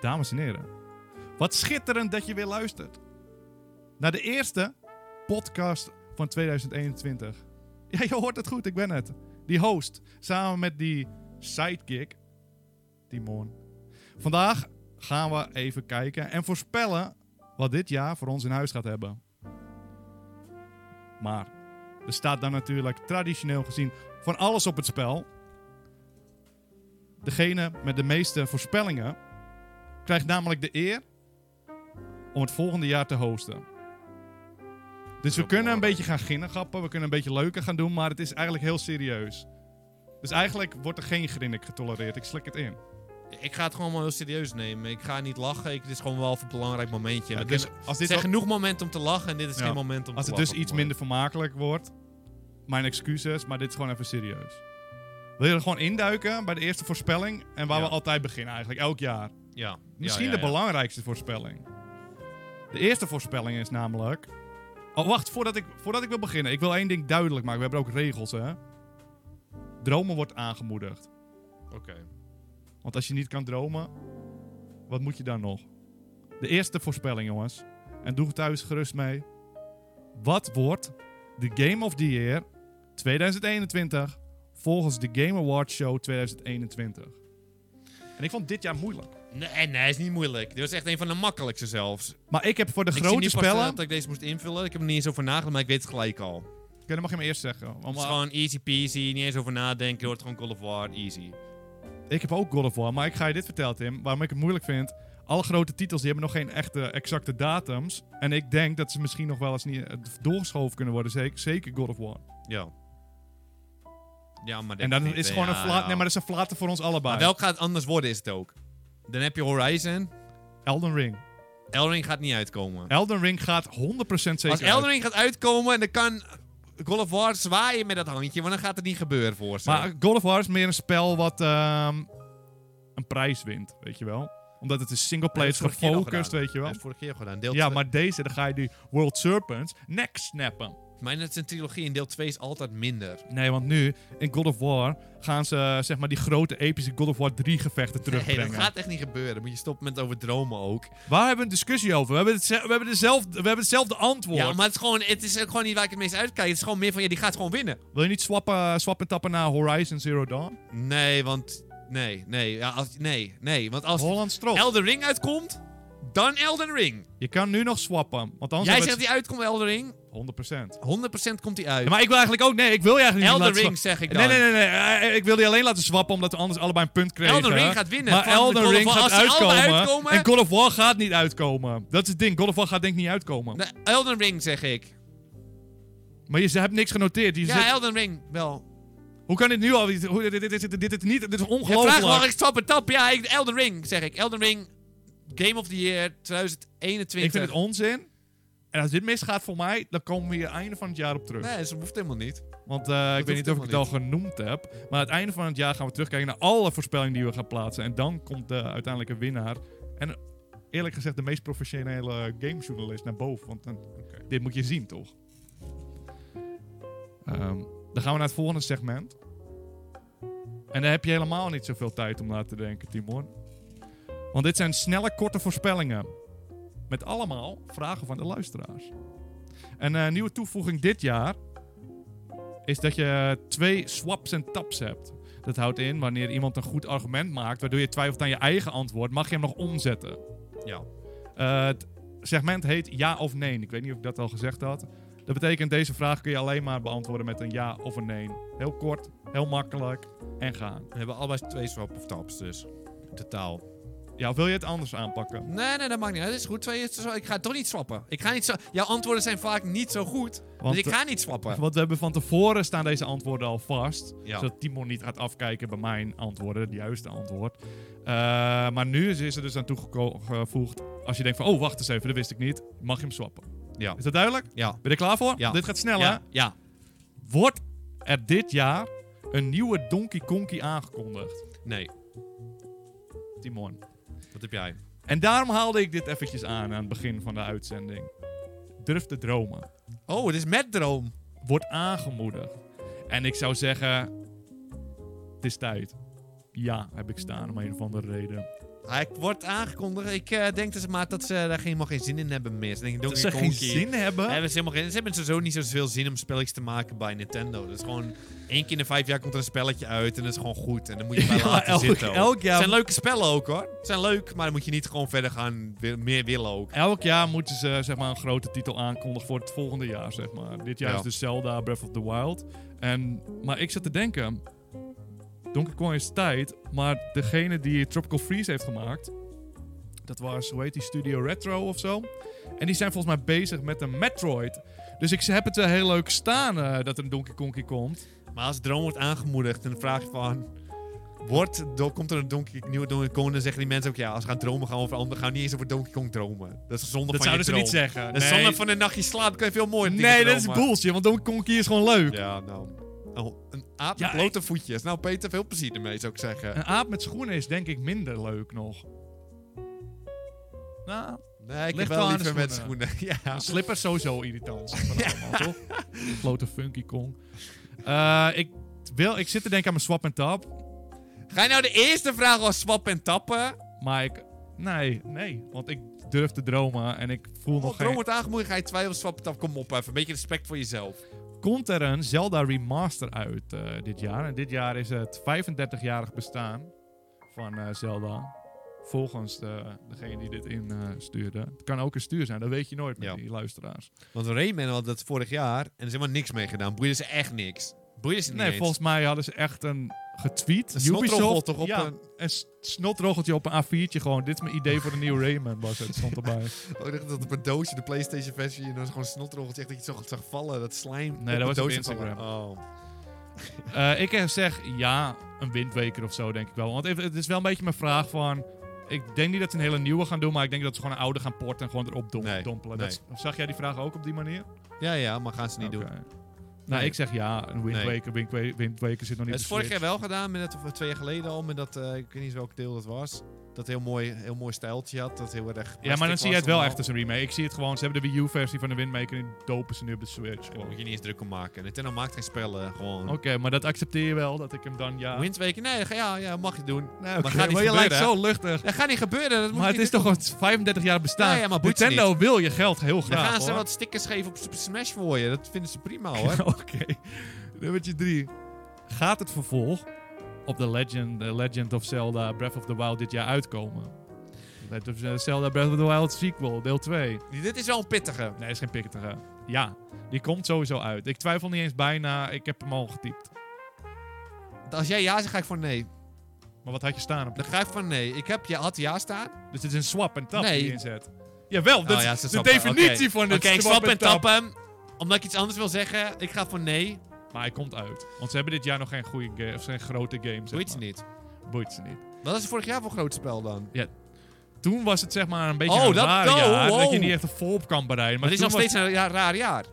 Dames en heren, wat schitterend dat je weer luistert. Naar de eerste podcast van 2021. Ja, je hoort het goed, ik ben het. Die host, samen met die sidekick, Timon. Vandaag gaan we even kijken en voorspellen wat dit jaar voor ons in huis gaat hebben. Maar er staat dan natuurlijk traditioneel gezien van alles op het spel. Degene met de meeste voorspellingen krijgt namelijk de eer om het volgende jaar te hosten. Dus we kunnen een beetje gaan ginnengappen, we kunnen een beetje leuker gaan doen, maar het is eigenlijk heel serieus. Dus eigenlijk wordt er geen grinnik getolereerd, ik slik het in. Ik ga het gewoon wel heel serieus nemen. Ik ga niet lachen. Ik, het is gewoon wel een belangrijk momentje. Ja, We dus kunnen- als er dit, zijn wat- genoeg momenten om te lachen en dit is Ja. geen moment om als te het lachen. dus iets minder vermakelijk wordt, mijn excuses, maar dit is gewoon even serieus. Wil je er gewoon induiken bij de eerste voorspelling en waar Ja. we altijd beginnen eigenlijk, elk jaar? Ja. Misschien Ja, ja, de ja. belangrijkste voorspelling. De eerste voorspelling is namelijk. Oh, wacht, voordat ik, voordat ik wil beginnen. Ik wil één ding duidelijk maken. We hebben ook regels, hè? Dromen wordt aangemoedigd. Oké. Want als je niet kan dromen, wat moet je dan nog? De eerste voorspelling, jongens. En doe thuis gerust mee. Wat wordt de Game of the Year 2021 volgens de Game Awards Show 2021? En ik vond dit jaar moeilijk. Nee, nee, is niet moeilijk. Dit was echt een van de makkelijkste zelfs. Maar ik heb voor de ik zie grote nu pas, eh, spellen... dat ik deze moest invullen. Ik heb er niet eens over nagedacht, maar ik weet het gelijk al. Oké, dan mag je me eerst zeggen. Want- Het is gewoon easy peasy, niet eens over nadenken. Je hoort gewoon Call of War, easy. Ik heb ook God of War, maar ik ga je dit vertellen, Tim. Waarom ik het moeilijk vind. Alle grote titels die hebben nog geen echte exacte datums. En ik denk dat ze misschien nog wel eens niet eh, doorgeschoven kunnen worden. Zeker, zeker God of War. Ja. Ja, maar dit en dan niet, is hè. gewoon een Ja, flaat. Nee, ja. maar dat is een flater voor ons allebei. Maar welk gaat anders worden is het ook. Dan heb je Horizon. Elden Ring. Elring gaat niet uitkomen. Elden Ring gaat 100% zeker. Als uit. Elden Ring gaat uitkomen, dan kan Call of War zwaaien met dat handje, want dan gaat het niet gebeuren voor ze. Maar God of War is meer een spel wat ehm, een prijs wint, weet je wel. Omdat het een singleplayer is Dat hebben ze vorige keer al gefocust, gedaan. weet je Dat wel. is vorige keer gedaan. Deel Ja, twee- maar deze, dan ga je die World Serpents nek snappen. maar het is een trilogie en deel 2 is altijd minder. Nee, want nu in God of War gaan ze eh, zeg maar die grote epische God of War 3 gevechten Nee, terugbrengen. dat gaat echt niet gebeuren. Dan moet je stoppen met over dromen ook. Waar hebben we een discussie over? We hebben, het ze- we hebben, dezelfde, we hebben hetzelfde antwoord. Ja, maar het is, gewoon, het is ook gewoon niet waar ik het meest uitkijk. Het is gewoon meer van, ja, die gaat gewoon winnen. Wil je niet swappen, eh, swappen tappen naar Horizon Zero Dawn? Nee, want... Nee, nee, ja, als, nee, nee. Want als Holland Strop. Elden Ring uitkomt, dan Elden Ring. je kan nu nog swappen, want anders Jij hebben zegt die uitkomt Elden Ring, we het 100%. 100% komt die uit. Ja, maar ik wil eigenlijk ook... Nee, ik wil je eigenlijk niet Elden laten Ring swa- zeg ik dan. Nee, nee, nee, nee. eh, Ik wil die alleen laten swappen, omdat we anders allebei een punt kregen. Elden Ring gaat winnen Maar van de God Elden of Ring War. gaat Als ze allebei uitkomen, uitkomen- En God of War gaat niet uitkomen. Dat is het ding. God of War gaat denk ik niet uitkomen. Nee, Elden Ring zeg ik. Maar je ze- hebt niks genoteerd. Je Ja, zit- Elden Ring wel. Hoe kan dit nu al? Hoe, dit, dit, dit, dit, dit, dit, niet, dit is Je vraagt wel, ongelooflijk. ik stap en tap. Ja, ik, Elden Ring zeg ik. Elden Ring, Game of the Year 2021. Ik vind het onzin. En als dit misgaat voor mij, dan komen we hier einde van het jaar op terug. Nee, dat hoeft helemaal niet. Want eh, ik hoeft weet niet of ik het al helemaal genoemd heb. Maar aan het einde van het jaar gaan we terugkijken naar alle voorspellingen die we gaan plaatsen. En dan komt de uiteindelijke winnaar. En eerlijk gezegd, de meest professionele gamejournalist naar boven. Want dan, Oké. dit moet je zien, toch? Ehm, dan gaan we naar het volgende segment. En daar heb je helemaal niet zoveel tijd om na te denken, Timon. Want dit zijn snelle, korte voorspellingen. Met allemaal vragen van de luisteraars. En een nieuwe toevoeging dit jaar is dat je twee swaps en taps hebt. Dat houdt in, wanneer iemand een goed argument maakt, waardoor je twijfelt aan je eigen antwoord, mag je hem nog omzetten. Ja. Eh, het segment heet ja of nee. Ik weet niet of ik dat al gezegd had. Dat betekent, deze vraag kun je alleen maar beantwoorden met een ja of een nee. Heel kort, heel makkelijk en gaan. We hebben allebei twee swap of taps, dus. In totaal. Ja, of wil je het anders aanpakken? Nee, nee, dat maakt niet uit. Dat is goed. Twee is zo. Ik ga toch niet swappen. Ik ga niet zo... Jouw antwoorden zijn vaak niet zo goed. Want, dus ik ga niet swappen. Want we hebben van tevoren staan deze antwoorden al vast. Ja. Zodat Timon niet gaat afkijken bij mijn antwoorden, het juiste antwoord. Eh, maar nu is, is er dus aan toegevoegd. Als je denkt van, oh wacht eens even, dat wist ik niet. Mag je hem swappen. Ja. Is dat duidelijk? Ja. Ben je er klaar voor? Ja. Dit gaat snel hè? Ja. ja. Wordt er dit jaar een nieuwe Donkey Konkie aangekondigd? Nee. Timon. Wat heb jij? En daarom haalde ik dit eventjes aan aan het begin van de uitzending. Durf te dromen. Oh, het is met droom. Wordt aangemoedigd. En ik zou zeggen, het is tijd. ja heb ik staan om een of andere reden. Hij wordt aangekondigd. Ik eh, denk dat ze, maar dat ze daar helemaal geen zin in hebben meer. Ze denken, Dat Donkey ze Kong geen keer. zin hebben. Daar hebben ze, helemaal geen, ze hebben sowieso niet zoveel zin om spelletjes te maken bij Nintendo. Dat is gewoon één keer in de vijf jaar komt er een spelletje uit en dat is gewoon goed. En dan moet je bij Ja, laten elk- zitten. ook. elk jaar- Het zijn leuke spellen ook hoor. Het zijn leuk, maar dan moet je niet gewoon verder gaan, wil- meer willen ook. Elk jaar moeten ze zeg maar, een grote titel aankondigen voor het volgende jaar. Zeg maar. Dit jaar Ja. is dus Zelda Breath of the Wild. En, maar ik zat te denken... Donkey Kong is tijd, maar degene die Tropical Freeze heeft gemaakt... Dat was, hoe heet die, Studio Retro of zo. En die zijn volgens mij bezig met een Metroid. Dus ik heb het wel heel leuk staan eh, dat er een Donkey Kongie komt. Maar als de droom wordt aangemoedigd en de vraag van... Wordt, do- komt er een Donkey, nieuwe Donkey Kong? Dan zeggen die mensen ook ja, als we gaan dromen gaan we over anderen. Gaan we niet eens over Donkey Kong dromen. Dat is zonde Dat van je zouden ze niet droom. zeggen. Dat is Nee, zonde van een nachtje slaap. Kun je veel mooier dingen nee dat is dromen. bullshit, want Donkey Kongie is gewoon leuk. Ja, nou. Oh, een aap Ja, met blote voetjes. Nou, Peter, veel plezier ermee, zou ik zeggen. Een aap met schoenen is denk ik minder leuk nog. Nou, Nee, ik heb Ligt wel wel aan de liever met schoenen. Ja. slippers sowieso irritant. Van allemaal, toch? Grote funky kong. Eh, ik, wil, ik zit te denken aan mijn swap en tap. Ga je nou de eerste vraag al swap en tappen? Maar ik... Nee, nee. Want ik durf te dromen en ik voel nog Nog droom geen... wordt aangemoedigd, ga je twijfelen, swap en tap. Kom op, even een beetje respect voor jezelf. Komt er een Zelda Remaster uit eh, dit jaar? En dit jaar is het 35-jarig bestaan van eh, Zelda. Volgens de, degene die dit instuurde. het kan ook een stuur zijn, dat weet je nooit met Ja. die luisteraars. Want Rayman had dat vorig jaar en er is helemaal niks mee gedaan. Boeien ze echt niks. Boeien ze niet Nee, eens. volgens mij hadden ze echt een getweet. Een snotrol Ubisoft, toch op ja, een- een s- snotrogeltje op een A4'tje gewoon. Dit is mijn idee voor een nieuwe Rayman was het, stond erbij. Oh, ik dacht dat op een doosje, de Playstation versie, en dan is gewoon een snotrogeltje. Echt dat je het zo zag vallen, dat slime. dat een was op doosje Instagram. vallen. Oh. Eh, ik zeg ja, een windweker of zo denk ik wel. Want even- het is wel een beetje mijn vraag van... Ik denk niet dat ze een hele nieuwe gaan doen, maar ik denk dat ze gewoon een oude gaan porten en gewoon erop dom- Nee, dompelen. nee. Dat is- zag jij die vraag ook op die manier? Ja, ja, maar gaan ze niet doen. Oké. Nou, Nee. ik zeg ja, een Nee. windweker. Windweker, windweker zit nog niet Het op de is vorig Switch. jaar wel gedaan, met het, of twee jaar geleden al, met dat, eh, ik weet niet welk deel dat was. Dat heel mooi, heel mooi stijltje had, dat heel erg... Ja, maar dan plastic zie je het was wel allemaal. echt als een remake. Ik zie het gewoon, ze hebben de Wii U-versie van de Windmaker en die dopen ze nu op de Switch. Daar Gewoon. moet je niet eens druk om maken. Nintendo maakt geen spellen, gewoon. Oké, maar dat accepteer je wel, dat ik hem dan ja... Wind Waker, nee, ga- ja, ja, mag je doen. Nee, Maar gaat niet je lijkt gebeuren, zo luchtig. Dat gaat niet gebeuren, dat moet Maar je het niet is toch al 35 jaar bestaan. Ja, ja, maar boeit ze Nintendo wil je geld heel doen. Dan graag, gaan ze hoor. wat stickers geven op Super Smash voor je. Dat vinden ze prima, hoor. Oké. Nummertje 3. Gaat het vervolg op The Legend, The Legend of Zelda Breath of the Wild dit jaar uitkomen? Legend of eh, Zelda Breath of the Wild sequel, deel 2. Dit is wel een pittige. Nee, is geen pikketige. Ja, die komt sowieso uit. Ik twijfel niet eens bijna, ik heb hem al getypt. Als jij ja zegt, ga ik voor nee. Maar wat had je staan op? Dan ga ik voor nee. Ik heb, je had ja staan. Dus het is een swap en tap Nee. die je inzet. Jawel, dat Oh ja, is ze de snappen. definitie Oké. van Oké, het ik swap en tappen. Omdat ik iets anders wil zeggen, ik ga voor nee. Maar hij komt uit. Want ze hebben dit jaar nog geen goede game, of geen grote games. Doe iets niet. Boeit ze niet. Wat is vorig jaar voor groot spel dan? Toen was het zeg maar een beetje Oh, een dat- raar oh, jaar. Dat je wow. niet echt een volop kan bereiden. Maar Maar het is toen nog steeds een ja, raar jaar.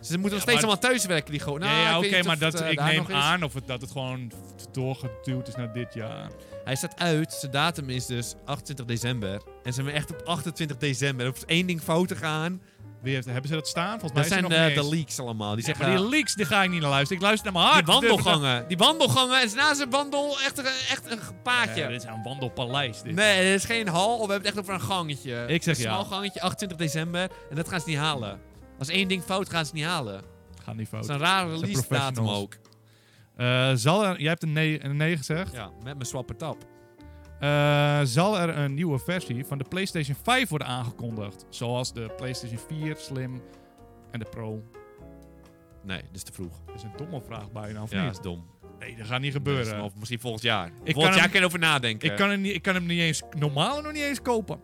Ze moeten nog steeds maar- allemaal thuiswerken, die gewoon. was- Nou, ja, ja ik oké, weet niet maar of het, dat, eh, ik daar nog neem is. aan of het, dat het gewoon doorgeduwd is naar dit jaar. Hij staat uit, zijn datum is dus 28 december. En zijn we echt op 28 december. Er hoeft één ding fout te gaan. Wie heeft, hebben ze dat staan? Volgens mij Dat is er zijn nog eh, niet de eens. leaks allemaal. Die Ja, zeggen maar die ja, leaks, die ga ik niet naar luisteren. Ik luister naar mijn hart. die wandelgangen. Die wandelgangen. En na zijn wandel echt, een- echt een Ja, paadje. dit is een wandelpaleis. Dit. Nee, dit is geen hal. We hebben het echt over een gangetje. Ik zeg een ja. smal gangetje, 28 december. En dat gaan ze niet halen. Als één ding fout gaan ze het niet halen. Gaat niet fout. Dat is een rare release datum professionals. ook. Eh, zal er, jij hebt een nee, een nee gezegd. Ja, met mijn swapper tap. Eh, zal er een nieuwe versie van de PlayStation 5 worden aangekondigd? Zoals de PlayStation 4, Slim en de Pro. Nee, dat is te vroeg. Dat is een domme vraag bijna, of Ja, dat niet? is dom. Nee, dat gaat niet Dus, gebeuren. Of misschien volgend jaar. volgend kan jaar hem- kan je over nadenken. Ik kan, hem niet, ik kan hem niet eens, normaal nog niet eens kopen.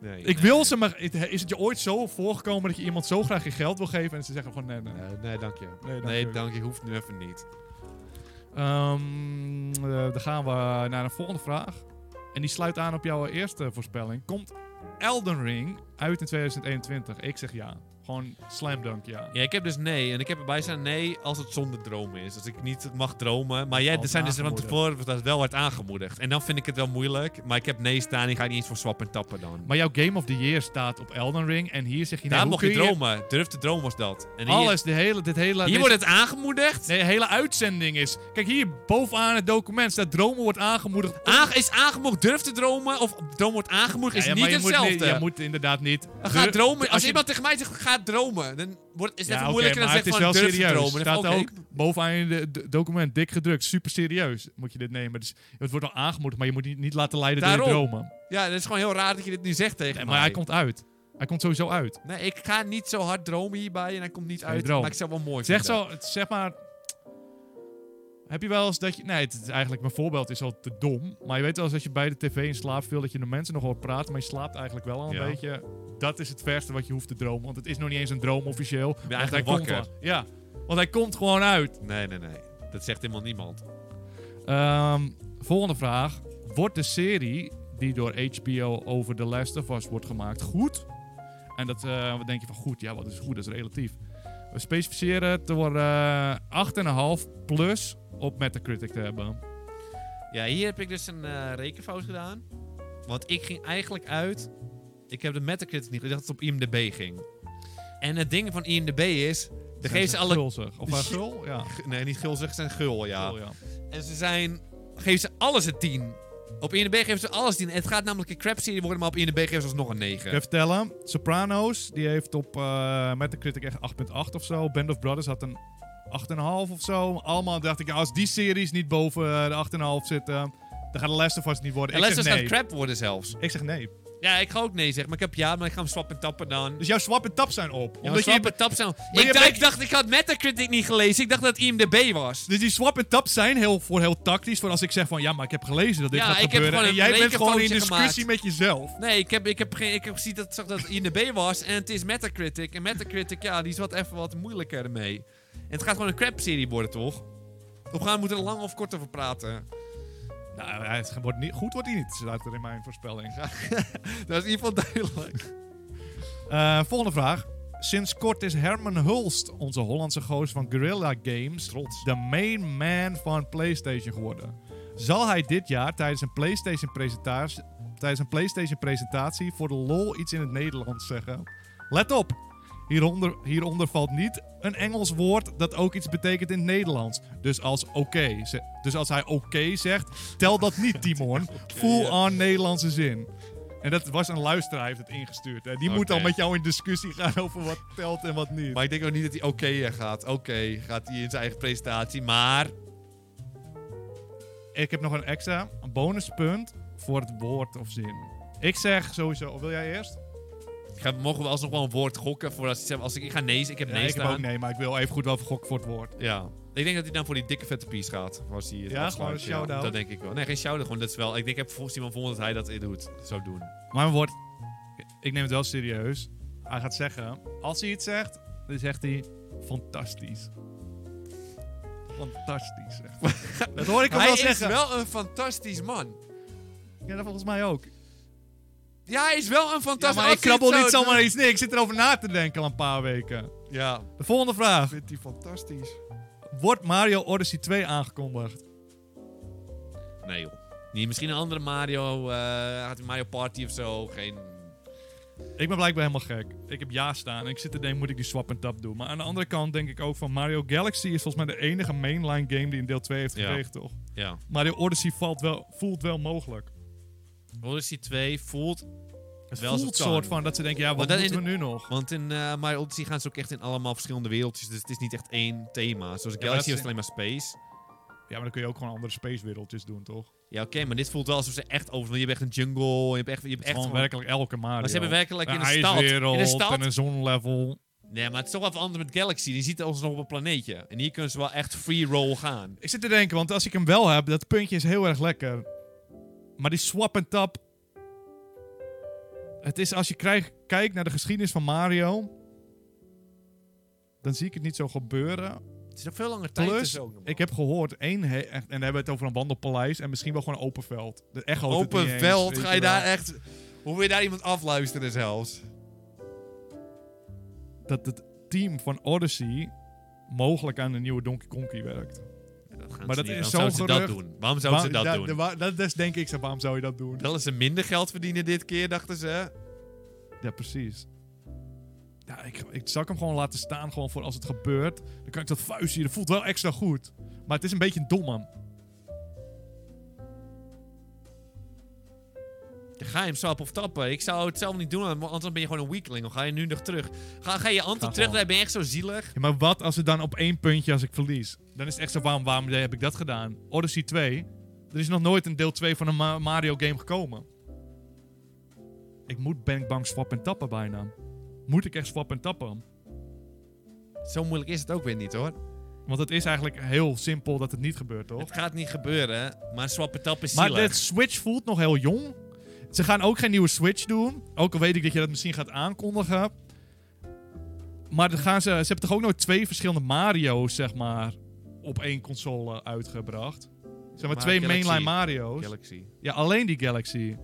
Nee, Ik nee, wil nee. ze, maar het- is het je ooit zo voorgekomen dat je iemand zo graag je geld wil geven en ze zeggen gewoon nee, Eh, nee. Nee, nee, dank je. dank Nee, je. dank je. Hoeft nu even niet. Ehm, eh, dan gaan we naar een volgende vraag. En die sluit aan op jouw eerste voorspelling. Komt Elden Ring uit in 2021? Ik zeg ja. Gewoon slam dunk, ja. Ja, ik heb dus nee. En ik heb erbij staan nee als het zonder dromen is. Als ik niet mag dromen. Maar jij, Als er zijn dus van aangemoedigd. tevoren dat is wel hard aangemoedigd. En dan vind ik het wel moeilijk. Maar ik heb nee staan en ga ik niet eens voor swap en tappen dan. Maar jouw Game of the Year staat op Elden Ring. En hier zeg je... Daar nou, mocht je dromen. Durf te dromen was dat. En hier, Alles, de hele, dit hele... hier dit- wordt het aangemoedigd. Nee, de hele uitzending is... Kijk, hier bovenaan het document staat dromen wordt aangemoedigd. Aange- is aangemoedigd durf te dromen of droom wordt aangemoedigd is Ja, ja, niet maar je moet hetzelfde. niet- Je moet inderdaad niet... Dan Ga Dur- dromen. Als, je- iemand tegen mij zegt ga dromen, dan wordt, is het Ja, even oké, moeilijker maar dan het zeggen is van wel durf te serieus. dromen. Dan staat van, oké, ook bovenaan in het document, dik gedrukt. Super serieus moet je dit nemen. Dus het wordt wel aangemoedigd, maar je moet niet, niet laten leiden door je Daarom. dromen. Ja, dat is gewoon heel raar dat je dit nu zegt tegen Nee, mij. maar hij komt uit. Hij komt sowieso uit. Nee, ik ga niet zo hard dromen hierbij en hij komt niet Geen uit. droom. Maar ik zou het wel mooi Zeg vinden. zo, het- zeg maar... Heb je wel eens dat je... Nee, het is eigenlijk mijn voorbeeld is al te dom. Maar je weet wel eens dat je bij de tv in slaap viel... dat je de mensen nog hoort praten, maar je slaapt eigenlijk wel al een Ja. beetje. Dat is het verste wat je hoeft te dromen. Want het is nog niet eens een droom officieel. want eigenlijk hij komt wakker. al- Ja, want hij komt gewoon uit. Nee, nee, nee. Dat zegt helemaal niemand. Ehm, volgende vraag. Wordt de serie die door HBO over The Last of Us wordt gemaakt goed? En dat, eh, wat denk je van goed? Ja, wat is goed? Dat is relatief. We specificeren het door eh 8,5 plus op Metacritic te hebben. Ja, hier heb ik dus een eh, rekenfout gedaan. Want ik ging eigenlijk uit... Ik heb de Metacritic niet... Ik dacht dat het op IMDb ging. En het ding van IMDb is... Dan geven ze alle... Gulzig. Of eh, gul? Ja. Nee, niet gulzig, ze zijn gul, ja. Gul, ja. En ze zijn... Geven ze alles een 10. Op IMDb geven ze alles 10. Het gaat namelijk een crap serie worden, maar op IMDb geven ze alsnog een 9. Ik ga vertellen. Sopranos, die heeft op eh, Metacritic echt 8,8 of zo. Band of Brothers had een 8,5 of zo. Allemaal dacht ik, ja, als die series niet boven eh, de 8,5 zitten, dan gaat The Last of Us niet worden. En ik Last zeg of Us nee. gaat crap worden zelfs. Ik zeg nee. Ja, ik ga ook nee zeggen, maar ik heb ja, maar ik ga hem swap en tappen dan. Dus jouw swap en tap zijn op. Ja, Omdat swap je, en tap zijn... Ik, je hebt dacht- echt- ik dacht, ik had Metacritic niet gelezen. Ik dacht dat het IMDb was. dus die swap en tap zijn heel, voor heel tactisch. Voor als ik zeg van ja, maar ik heb gelezen dat dit Ja, gaat ik heb gebeuren. gewoon en een jij bent gewoon in rekenfoutje discussie met jezelf. Nee, ik heb, ik heb geen... Ik heb gezien dat, zag dat het IMDb was en het is Metacritic. En Metacritic, ja, die is wat even wat moeilijker ermee. En het gaat gewoon een crap-serie worden, toch? Op gaan moeten we er lang of kort over praten. Nou, het wordt niet, goed wordt hij niet, staat er in mijn voorspelling. Dat is in ieder geval duidelijk. Eh, volgende vraag. Sinds kort is Herman Hulst, onze Hollandse goos van Guerrilla Games, de main man van PlayStation geworden. Zal hij dit jaar tijdens een PlayStation presentatie, tijdens een PlayStation presentatie voor de lol iets in het Nederlands zeggen? Let op! Hieronder, hieronder valt niet een Engels woord dat ook iets betekent in het Nederlands. Dus als oké. ze- Dus als hij oké zegt, tel dat niet, Timon. Full on Nederlandse zin. En dat was een luisteraar, heeft het ingestuurd. Hè. Die moet Oké. al met jou in discussie gaan over wat telt en wat niet. Maar ik denk ook niet dat hij oké eh, gaat. Oké, gaat hij in zijn eigen presentatie. Maar Ik heb nog een extra, een bonuspunt voor het woord of zin. Ik zeg sowieso, of wil jij eerst? ga, mogen we alsnog wel een woord gokken voor als, hij- als ik, ik ga nee, ik heb nee ik heb staan. ook nee, maar ik wil even goed wel gokken voor het woord. Ja. Ik denk dat hij dan voor die dikke vette piece gaat. Als hij het Ja, afsluit, gewoon een shout-out. Dat denk ik wel. Nee, geen shout-out. Gewoon, dat is wel... Ik denk, ik heb volgens iemand gevonden dat hij dat doet, zou doen. Maar mijn woord, ik neem het wel serieus. Hij gaat zeggen, als hij iets zegt, dan zegt hij fantastisch. Fantastisch, zegt hij. Dat hoor ik hem hij wel is zeggen. wel een fantastisch man. Ja, dat volgens mij ook. Ja, hij is wel een Ja, fantastisch... maar ik Als hij het krabbel niet zou zomaar iets neer. Ik zit erover na te denken al een paar weken. doen- Ja. De volgende vraag. Vindt hij fantastisch? Wordt Mario Odyssey 2 aangekondigd? Nee, joh. Niet, misschien een andere Mario. eh had hij Mario Party of zo. Geen... Ik ben blijkbaar helemaal gek. Ik heb ja staan en ik zit te denken, moet ik die swap en tap doen? Maar aan de andere kant denk ik ook van Mario Galaxy is volgens mij de enige mainline game die in deel 2 heeft Ja. gekregen, toch? Ja. Mario Odyssey valt wel, voelt wel mogelijk. Odyssey 2 voelt... Het Wel voelt als het kan. soort van dat ze denken, ja, wat dat moeten we in nu nog? Want in eh Mario Odyssey gaan ze ook echt in allemaal verschillende wereldjes. Dus het is niet echt één thema. Zoals maar Galaxy dat was is- alleen maar space. Ja, maar dan kun je ook gewoon andere spacewereldjes doen, toch? Ja, oké, maar dit voelt wel alsof ze echt over. want Je hebt echt een jungle, je hebt echt, je hebt echt gewoon gewoon- werkelijk elke Mario. Maar ze hebben werkelijk in een een stad. In een ijswereld stad. en een zonlevel. Nee, maar het is toch wel wat anders met Galaxy. Die ziet ons nog op een planeetje. En hier kunnen ze wel echt free roll gaan. Ik zit te denken, want als ik hem wel heb, dat puntje is heel erg lekker. Maar die swap en tap. Het is als je krijg- kijkt naar de geschiedenis van Mario. Dan zie ik het niet zo gebeuren. Het is nog veel langer tijd. Plus, ik heb gehoord, één he- echt, en dan hebben we het over een wandelpaleis en misschien wel gewoon open veld. De echo doet het niet open eens, veld, weet ga je wel. daar echt... Hoe wil je daar iemand afluisteren zelfs? dat het team van Odyssey mogelijk aan een nieuwe Donkey Konky werkt. Dat gaan Maar ze dat niet. is zo'n Waarom zouden ze dat gerucht. doen? Waarom zouden ze dat Waar- doen? da- wa- dat is denk ik zo, waarom zou je dat doen? Willen ze minder geld verdienen dit keer, dachten ze? Ja, precies. Ja, ik, ik zou ik hem gewoon laten staan gewoon voor als het gebeurt. Dan kan ik dat vuist hier. Dat voelt wel extra goed. Maar het is een beetje dom, man. Dan ga je hem slap of tappen. Ik zou het zelf niet doen, want anders ben je gewoon een weakling. Dan ga je nu nog terug. Ga, ga je Anton Ga terugrijden, ben je echt zo zielig. Ja, maar wat als het dan op één puntje als ik verlies? Dan is het echt zo, waarom, waarom heb ik dat gedaan? Odyssey 2. Er is nog nooit een deel 2 van een Ma- Mario game gekomen. Ik moet ben ik bang swap en tappen bijna. Moet ik echt swap en tappen? Zo moeilijk is het ook weer niet hoor. Want het is eigenlijk heel simpel dat het niet gebeurt, toch? Het gaat niet gebeuren, maar swappen tappen is Maar zielig. de Switch voelt nog heel jong. Ze gaan ook geen nieuwe Switch doen. Ook al weet ik dat je dat misschien gaat aankondigen. Maar dan gaan ze, ze hebben toch ook nooit twee verschillende Mario's, zeg maar, op één console eh, uitgebracht. Zeg maar, Maar twee Galaxy. mainline Mario's. Galaxy. Ja, alleen die Galaxy.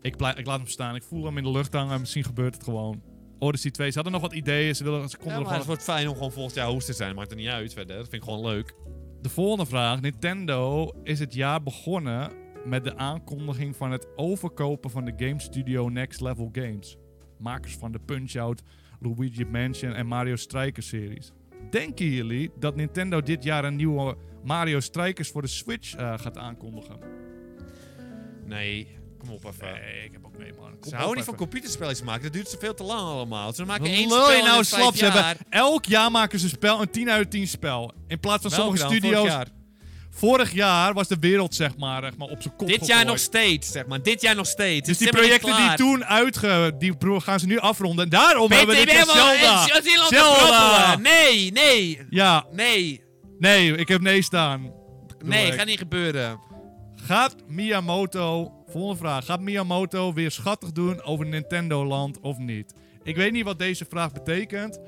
Ik, blij- ik laat hem staan. Ik voel hem in de lucht hangen. Misschien gebeurt het gewoon. Odyssey 2. Ze hadden nog wat ideeën. Ze, wilden, ze Ja, konden er maar gewoon het wordt fijn om gewoon volgend jaar host te zijn. Maakt er niet uit verder. Dat vind ik gewoon leuk. De volgende vraag. Nintendo is het jaar begonnen met de aankondiging van het overkopen van de game studio Next Level Games. Makers van de Punch-Out, Luigi Mansion en Mario Strikers series. Denken jullie dat Nintendo dit jaar een nieuwe Mario Strikers voor de Switch eh, gaat aankondigen? Nee, kom op even. ik heb ook nee man. Ze houden niet van computerspelletjes maken. Dat duurt zoveel te lang allemaal. Ze maken één Lul spel je nou in vijf slap ze jaar. hebben. Elk jaar maken ze een spel, een 10 uit 10 spel. In plaats van Welke sommige dan? studio's. Vorig Vorig jaar. jaar. was de wereld zeg maar, echt maar op zijn kop Dit jaar gegooid. nog steeds, zeg maar. Dit jaar nog steeds. Dus Het die is helemaal projecten niet die klaar. toen uitge... Die bro- gaan ze nu afronden. En daarom hebben we dit BTW jaar helemaal Zelda. in New Zealand te Zelda. proppelen. Nee, nee. Ja, Nee. nee, ik heb nee staan. Nee, ik. gaat niet gebeuren. Gaat Miyamoto... Volgende vraag. Gaat Miyamoto weer schattig doen over Nintendo Land of niet? Ik weet niet wat deze vraag betekent.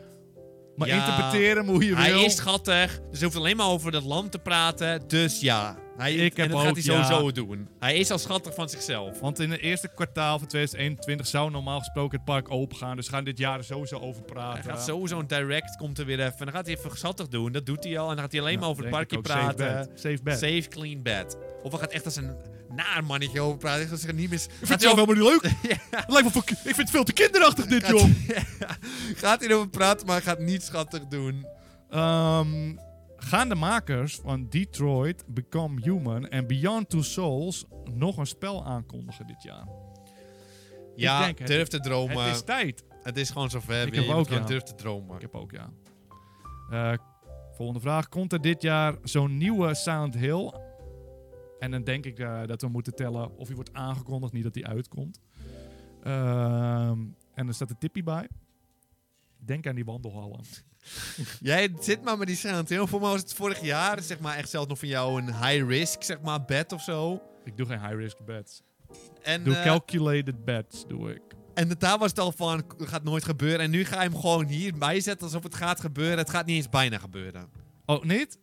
Maar Ja, interpreteer hem hoe je Hij wil. is schattig. Dus hij hoeft alleen maar over dat land te praten. Dus ja. Hij, Ik en heb dat gaat hij ook ja. sowieso doen. Hij is al schattig van zichzelf. Want in het eerste kwartaal van 2021 zou normaal gesproken het park opengaan. Dus we gaan dit jaar er sowieso over praten. Hij gaat sowieso een direct, komt er weer even. En dan gaat hij even schattig doen. Dat doet hij al. En dan gaat hij alleen Ja, maar over het denk parkje ik ook. Safe praten. bet. Safe bet. Safe, clean bed. Of hij gaat echt als een naar mannetje over praten. Echt Als er niet meer... Ik vind Gaat het hij zelf over- helemaal niet leuk. Het lijkt wel voor- ik vind het veel te kinderachtig dit, joh. Gaat hij over praten, maar gaat niet schattig doen. Ehm, gaan de makers van Detroit, Become Human en Beyond Two Souls nog een spel aankondigen dit jaar? Ja, denk het. durf te dromen. het is tijd. gewoon zover. Ik heb weer. Je moet ook, gewoon ja. durf te dromen. Ik heb ook, ja. Eh, volgende vraag. Komt er dit jaar zo'n nieuwe Silent Hill? En dan denk ik eh, dat we moeten tellen of hij wordt aangekondigd, niet dat hij uitkomt. Ehm, en er staat een tipje bij. Denk aan die wandelhallen. Jij zit maar met die Silent Hill. Voor mij was het vorig jaar, zeg maar, echt zelfs nog van jou een high risk, zeg maar, bed of zo. Ik doe geen high-risk bets. En, Doe eh, calculated bets, doe ik. en daar was het al van, k- gaat nooit gebeuren. En nu ga je hem gewoon hierbij zetten alsof het gaat gebeuren. Het gaat niet eens bijna gebeuren. Oh, niet?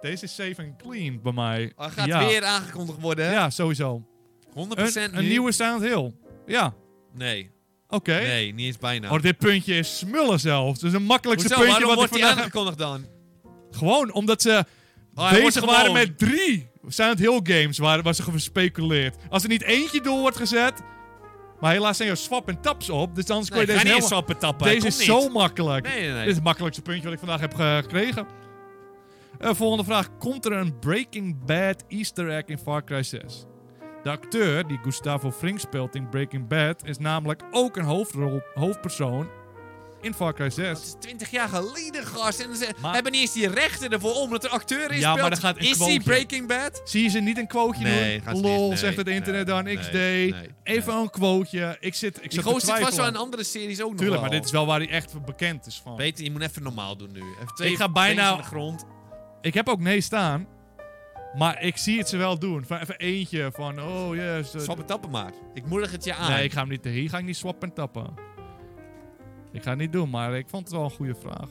Deze is safe and clean bij mij. Oh, Hij gaat ja. weer aangekondigd worden. Ja, sowieso. 100% Een, een nu. nieuwe Silent Hill. Ja, oké. Nee, nee, niet eens bijna. Oh, dit puntje is smullen zelf. Dus een makkelijkste Hoezo, puntje waarom wat ik wordt hij vandaag... aangekondigd dan? Gewoon omdat ze Oh, hij wordt bezig waren gewoon- met drie Silent Hill games waar, waar ze gespeculeerd. Als er niet eentje door wordt gezet... Maar helaas zijn jouw swap en taps op. Dus anders Nee, kun ga je deze niet eens helemaal... swappen tappen. Deze komt is niet. zo makkelijk. Nee, nee, nee. Dit is het makkelijkste puntje wat ik vandaag heb gekregen. Eh, volgende vraag. Komt er een Breaking Bad easter egg in Far Cry 6? De acteur die Gustavo Fring speelt in Breaking Bad is namelijk ook een hoofdrol, hoofdpersoon in Far Cry Het 6. is 20 jaar geleden, gast. En ze Maar- hebben niet eens die rechten ervoor om dat er acteur is. Ja, maar dan gaat een Is die quoteje. Breaking Bad? Zie je ze niet een quoteje doen? Lol, zegt het internet dan. XD. Even een quoteje. Ik zit, ik Die zit te gozer zit vast wel in twijfelen. andere series ook Tuurlijk, nog maar wel. dit is wel waar hij echt bekend is van. Peter, je moet even normaal doen nu. Even twee Ik ga bijna- tanks aan de grond. Ik heb ook nee staan. Maar ik zie het ze wel doen. Van even eentje van, oh yes. eh, Swap het tappen maar. Ik moedig het je aan. Nee, ik ga hem niet, hier ga ik niet swappen en tappen. Ik ga het niet doen, maar ik vond het wel een goede vraag.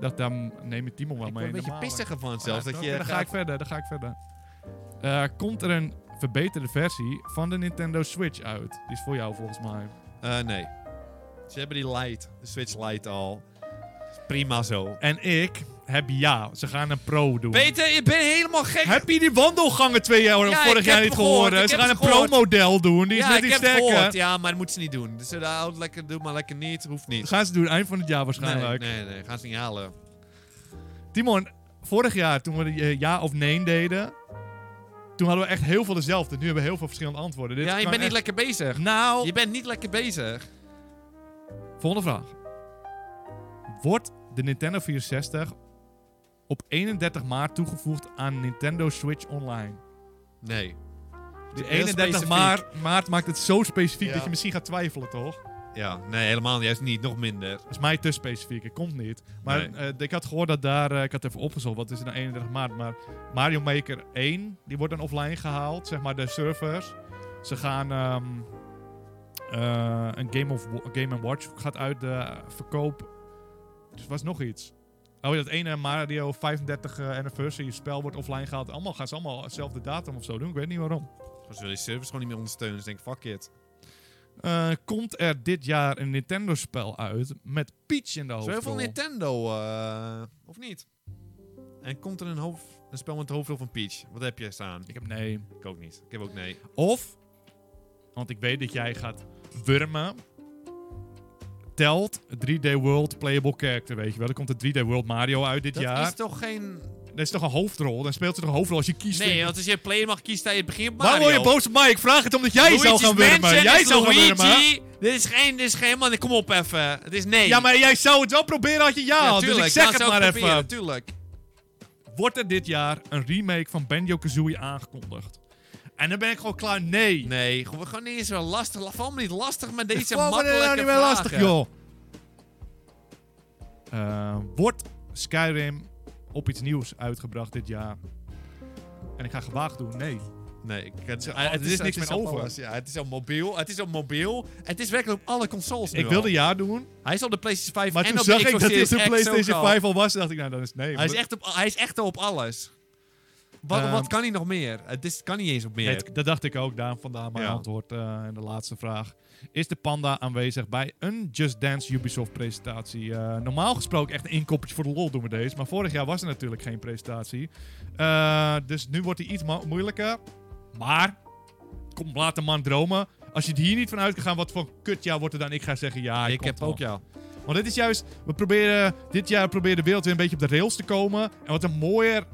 Dat, daar neem je Timo wel Ik mee. word een beetje normaal. pissiger van Ja, zelfs. dat oké, je dan ga ik verder, dan ga ik verder. Eh, komt er een verbeterde versie van de Nintendo Switch uit? Die is voor jou volgens mij. Eh, nee. Ze hebben die light, de Switch light al. Prima zo. En ik heb ja. Ze gaan een pro doen. Peter, ik ben helemaal gek. Heb je die wandelgangen twee jaar Ja, ik vorig heb jaar het niet gehoord? gehoord, ik Ze heb gaan een het gehoord. pro-model doen. Die is ja, net ik iets heb het sterker. gehoord. Ja, maar dat moeten ze niet doen. Dus ze houden lekker, doe maar lekker niet. Hoeft niet. Dat gaan ze doen eind van het jaar Nee, waarschijnlijk. nee, nee. Gaan ze niet halen. Timon, vorig jaar toen we de, eh, ja of nee deden, toen hadden we echt heel veel dezelfde. Nu hebben we heel veel verschillende antwoorden. Dit ja, je kan bent niet echt- lekker bezig. Nou, Je bent niet lekker bezig. volgende vraag. Wordt de Nintendo 64 op 31 maart toegevoegd aan Nintendo Switch Online? Nee. Dus Heel 31 specifiek. maart, maart maakt het zo specifiek Ja. dat je misschien gaat twijfelen, toch? Ja, nee, helemaal juist niet. Nog minder. Dat is mij te specifiek, het komt niet. Maar Nee. eh, ik had gehoord dat daar, eh, ik had even opgezocht, wat is er nou 31 maart? Maar Mario Maker 1, die wordt dan offline gehaald, zeg maar de servers. Ze gaan ehm, eh, een Game, of Wa- Game Watch gaat uit de eh, verkoop. Dus er was nog iets. Oh, dat ene Mario 35 eh, Anniversary spel wordt offline gehaald. Allemaal gaan ze allemaal dezelfde datum of zo doen. Ik weet niet waarom. Ze willen die service gewoon niet meer ondersteunen. Ze denken, fuck it. Eh, komt er dit jaar een Nintendo-spel uit met Peach in de Zo heel hoofdrol? veel Nintendo, eh, of niet? En komt er een, hoofd, een spel met de hoofdrol van Peach? Wat heb je staan? Ik heb nee. Ik ook niet. Ik heb ook nee. Of, want ik weet dat jij gaat wurmen. Telt 3D World Playable Character, weet je wel. Er komt de 3D World Mario uit dit Dat jaar. is toch geen... Dat is toch een hoofdrol? Dan speelt ze toch een hoofdrol als je kiest. Nee, in- want als je player mag kiezen, sta je in het begin op Waar Mario. word je boos op mij? Ik vraag het omdat jij zou gaan wurmen. Mansion jij is zou gaan wurmen. Luigi. Dit is geen, dit is geen man. Kom op even. Het is nee. Ja, maar jij zou het wel proberen als je ja had. Dus ik tuurlijk, zeg dan het zou ik maar proberen, even. Tuurlijk. Wordt er dit jaar een remake van Banjo-Kazooie aangekondigd? En dan ben ik gewoon klaar. Nee. Nee, gewoon gewoon niet eens zo lastig. Val me niet lastig met Ik deze vond me makkelijke nou niet meer vragen. lastig, joh. Eh, wordt Skyrim op iets nieuws uitgebracht dit jaar? En ik ga gewaagd doen, nee. Nee, ik, het, is- ah, het is niks meer al over. alles. Ja, het is al mobiel. Het is al mobiel. Het is werkelijk op alle consoles nu Ik al. wilde ja doen, Hij is op de PlayStation 5 maar en toen op zag de ik Xbox dat dit de Series X ook PlayStation al. 5 al was. dacht ik, nou, dan is het nee. Hij is Maar echt op, hij is echt al op alles. Wat, Ehm, wat kan hij nog meer? Het is, kan niet eens op meer. het- dat dacht ik ook, daarom vandaar mijn Ja. antwoord. eh, en de laatste vraag. Is de panda aanwezig bij een Just Dance Ubisoft presentatie? Eh, normaal gesproken echt een inkoppertje voor de lol doen we deze. Maar vorig jaar was er natuurlijk geen presentatie. Eh, dus nu wordt hij iets mo- moeilijker. Maar, kom, laat de man dromen. Als je het hier niet van uit kan gaan, wat voor kutjaar wordt er dan? Ik ga zeggen ja. hij ik komt heb wel. ook jou. Want dit is juist, we proberen dit jaar proberen de wereld weer een beetje op de rails te komen. En wat een mooier,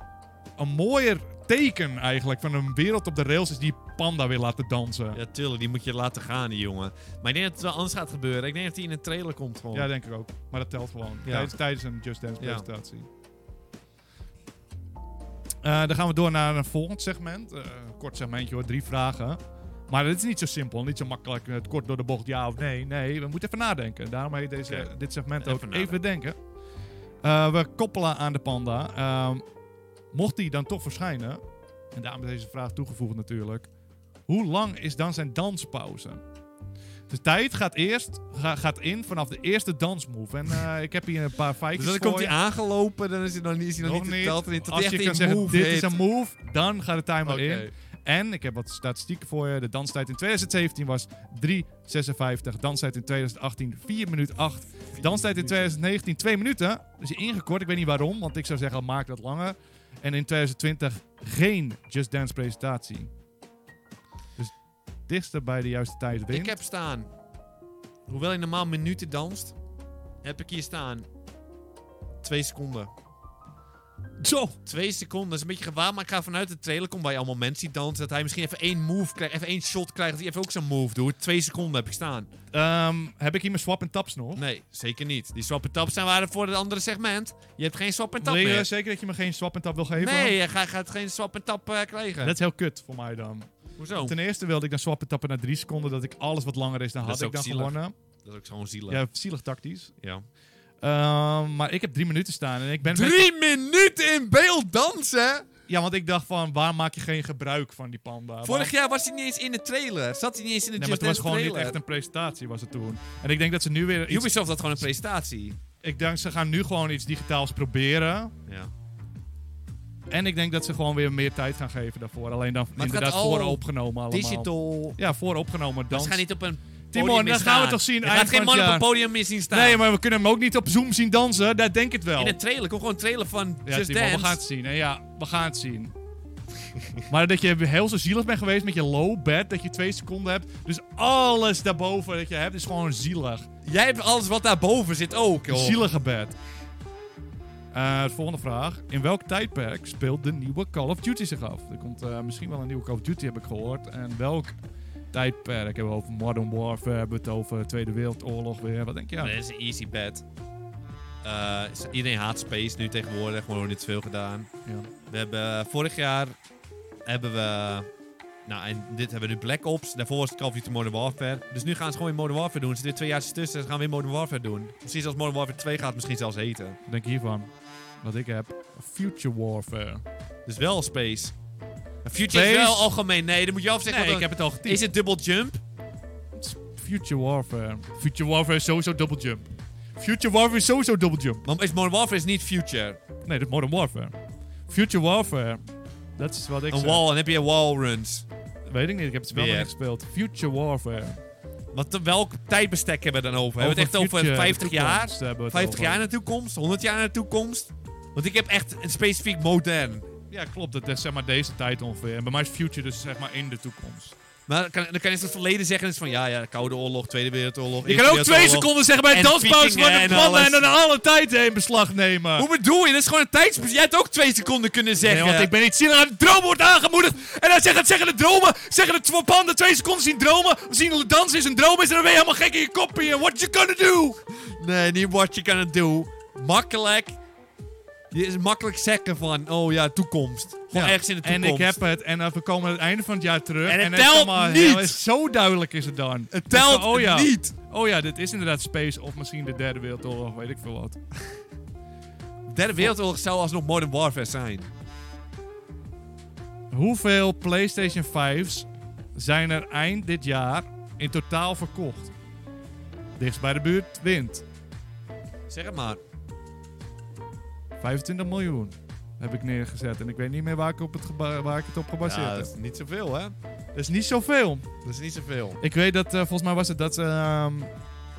een mooier teken eigenlijk van een wereld op de rails is die panda weer laten dansen. Ja, Ja, tuurlijk. Die moet je laten gaan, die jongen. Maar ik denk dat het wel anders gaat gebeuren. Ik denk dat hij in een trailer komt gewoon. Dus denk ik ook. Maar dat telt gewoon. Ja. Tijdens, tijdens een Just Dance Ja. presentatie. Eh, dan gaan we door naar een volgend segment. Eh, een kort segmentje hoor, drie vragen. Maar dit is niet zo simpel, niet zo makkelijk. eh, Het kort door de bocht, ja of nee. Nee, we moeten even nadenken. Daarom heet deze, Oké. dit segment Even ook nadenken. even denken. Eh, we koppelen aan de panda. Ehm, mocht die dan toch verschijnen, en daarom is deze vraag toegevoegd natuurlijk. Hoe lang is dan zijn danspauze? De tijd gaat, eerst, ga- gaat in vanaf de eerste dansmove. En eh, ik heb hier een paar feitjes Dus dan voor komt hij je. aangelopen. Dan is hij nog niet, is hij nog Nog niet niet. verteld. En Als je kan zeggen, dit is een move, dan gaat de timer in. En ik heb wat statistieken voor je. De danstijd in 2017 was 3,56. Danstijd in 2018 4 minuten 8. Danstijd in 2019 2 minuten. Dus ingekort, ik weet niet waarom, want ik zou zeggen maak dat langer. En in 2020 geen Just Dance presentatie. Dus dichter bij de juiste tijd wint. Ik heb staan. Hoewel hij normaal minuten danst, heb ik hier staan. Twee seconden. Zo! Twee seconden, dat is een beetje gewaar, maar ik ga vanuit de trailer komen bij allemaal mensen die dansen. Dat hij misschien even één move krijgt, even één shot krijgt, dat hij even ook zo'n move doet. Twee seconden heb ik staan. Ehm, heb ik hier mijn swap en taps nog? Nee, zeker niet. Die swap en taps zijn waren voor het andere segment. Je hebt geen swap en tap Wil je meer. zeker dat je me geen swap en tap wil geven? Nee, je gaat, gaat geen swap en tap eh, krijgen. Dat is heel kut voor mij dan. Hoezo? Ten eerste wilde ik dan swap en tappen naar 3 seconden. Dat ik alles wat langer is, dan Dat had is ik ook dan zielig. gewonnen. Dat is ook zo'n zielig. Ja, zielig tactisch. Ja. Ehm, maar ik heb drie minuten staan en ik ben... Drie minuten in beeld dansen? Ja, want ik dacht van, waar maak je geen gebruik van die panda? Vorig jaar was hij niet eens in de trailer. Zat hij niet eens in de Nee, maar Just het was Dance gewoon niet trailer. echt een presentatie, was het toen. En ik denk dat ze nu weer iets... Ubisoft had gewoon een presentatie. Ik denk, ze gaan nu gewoon iets digitaals proberen. Ja. En ik denk dat ze gewoon weer meer tijd gaan geven daarvoor. Alleen dan gaat inderdaad al vooropgenomen allemaal. Digital. Ja, vooropgenomen Dat dans. gaat niet op een Timon, dan gaan we toch zien Je eind gaat geen van man het op een jaar. podium meer zien staan. Nee, maar we kunnen hem ook niet op Zoom zien dansen. Dat denk ik wel. In een trailer, kom gewoon een trailer van ja, Just Timon, Dance. we gaan het zien. hè. Ja, we gaan het zien. maar dat je heel zo zielig bent geweest met je low bed, dat je twee seconden hebt. Dus alles daarboven dat je hebt is gewoon zielig. Jij hebt alles wat daarboven zit ook, Een joh. zielige bed. Eh, volgende vraag. In welk tijdperk speelt de nieuwe Call of Duty zich af? Er komt eh, misschien wel een nieuwe Call of Duty, heb ik gehoord. En welk tijdperk? Hebben we over Modern Warfare, hebben we het over Tweede Wereldoorlog weer? Wat denk je? Dat is een easy bet. Eh, iedereen haat Space nu tegenwoordig, maar er wordt niet veel gedaan. Ja. We hebben eh, vorig jaar hebben we. Nou, en dit hebben we nu Black Ops. Daarvoor was het Call of Duty Modern Warfare. Dus nu gaan ze gewoon weer Modern Warfare doen. Er zitten twee jaar tussen en ze gaan weer Modern Warfare doen. Precies als Modern Warfare 2 gaat het misschien zelfs heten. Wat denk je hiervan? Wat ik heb. Future Warfare. Dus wel Space. En Future Space? is wel algemeen. Nee, dan moet je af zeggen. wat- het al is het Double Jump? Future Warfare. Future Warfare is sowieso double jump. Future Warfare is sowieso double jump. Want is Modern Warfare is niet Future. Nee, dat is Modern Warfare. Future Warfare. Dat is wat ik Een zeg. wall, dan heb je wall runs. Weet ik niet, ik heb het spel nog Weer. niet gespeeld. Future Warfare. Wat, welk tijdbestek hebben we dan over? hebben we het echt future, over 50 de toekomst jaar? hebben we het 50 over. jaar naar de toekomst? 100 jaar naar de toekomst? Want ik heb echt een specifiek modern. Ja, klopt. Dat is zeg maar deze tijd ongeveer. En bij mij is future dus zeg maar in de toekomst. Maar dan kan, dan kan je in het verleden zeggen, is van ja, ja, Koude Oorlog, Tweede Wereldoorlog. Je Eerste kan ook twee Wereldoorlog. seconden zeggen bij en danspauze vikingen van de en plannen en alles. dan alle tijd heen beslag nemen. Hoe bedoel je? Dat is gewoon een tijdsbestek. Jij had ook twee seconden kunnen Nee, zeggen. want ik ben niet zielig. De droom wordt aangemoedigd. En dan zeggen, zeggen de dromen. Zeggen de tw- panden twee seconden zien dromen. Of zien dansen is een droom. Is en dan ben je helemaal gek in je kop. En what you gonna do? Nee, niet what you gonna do. Makkelijk. Je is makkelijk zeggen van, oh ja, toekomst. Gewoon ergens in de toekomst. En ik heb het. En eh, we komen aan het einde van het jaar terug. En het is telt allemaal niet. heel- is zo duidelijk is het dan. Het telt oh, ja. niet. Oh ja, dit is inderdaad Space of misschien de derde wereldoorlog, weet ik veel wat. Derde Wereldoorlog zou alsnog Modern Warfare zijn. Hoeveel PlayStation 5's zijn er eind dit jaar in totaal verkocht? Dichtst bij de buurt wint. Zeg het maar. 25 miljoen heb ik neergezet. En ik weet niet meer waar ik, op het, geba- waar ik het op gebaseerd Ja, heb. dat is niet zoveel, hè? Dat is niet zoveel. Dat is niet zoveel. Ik weet dat, eh, volgens mij was het dat ehm,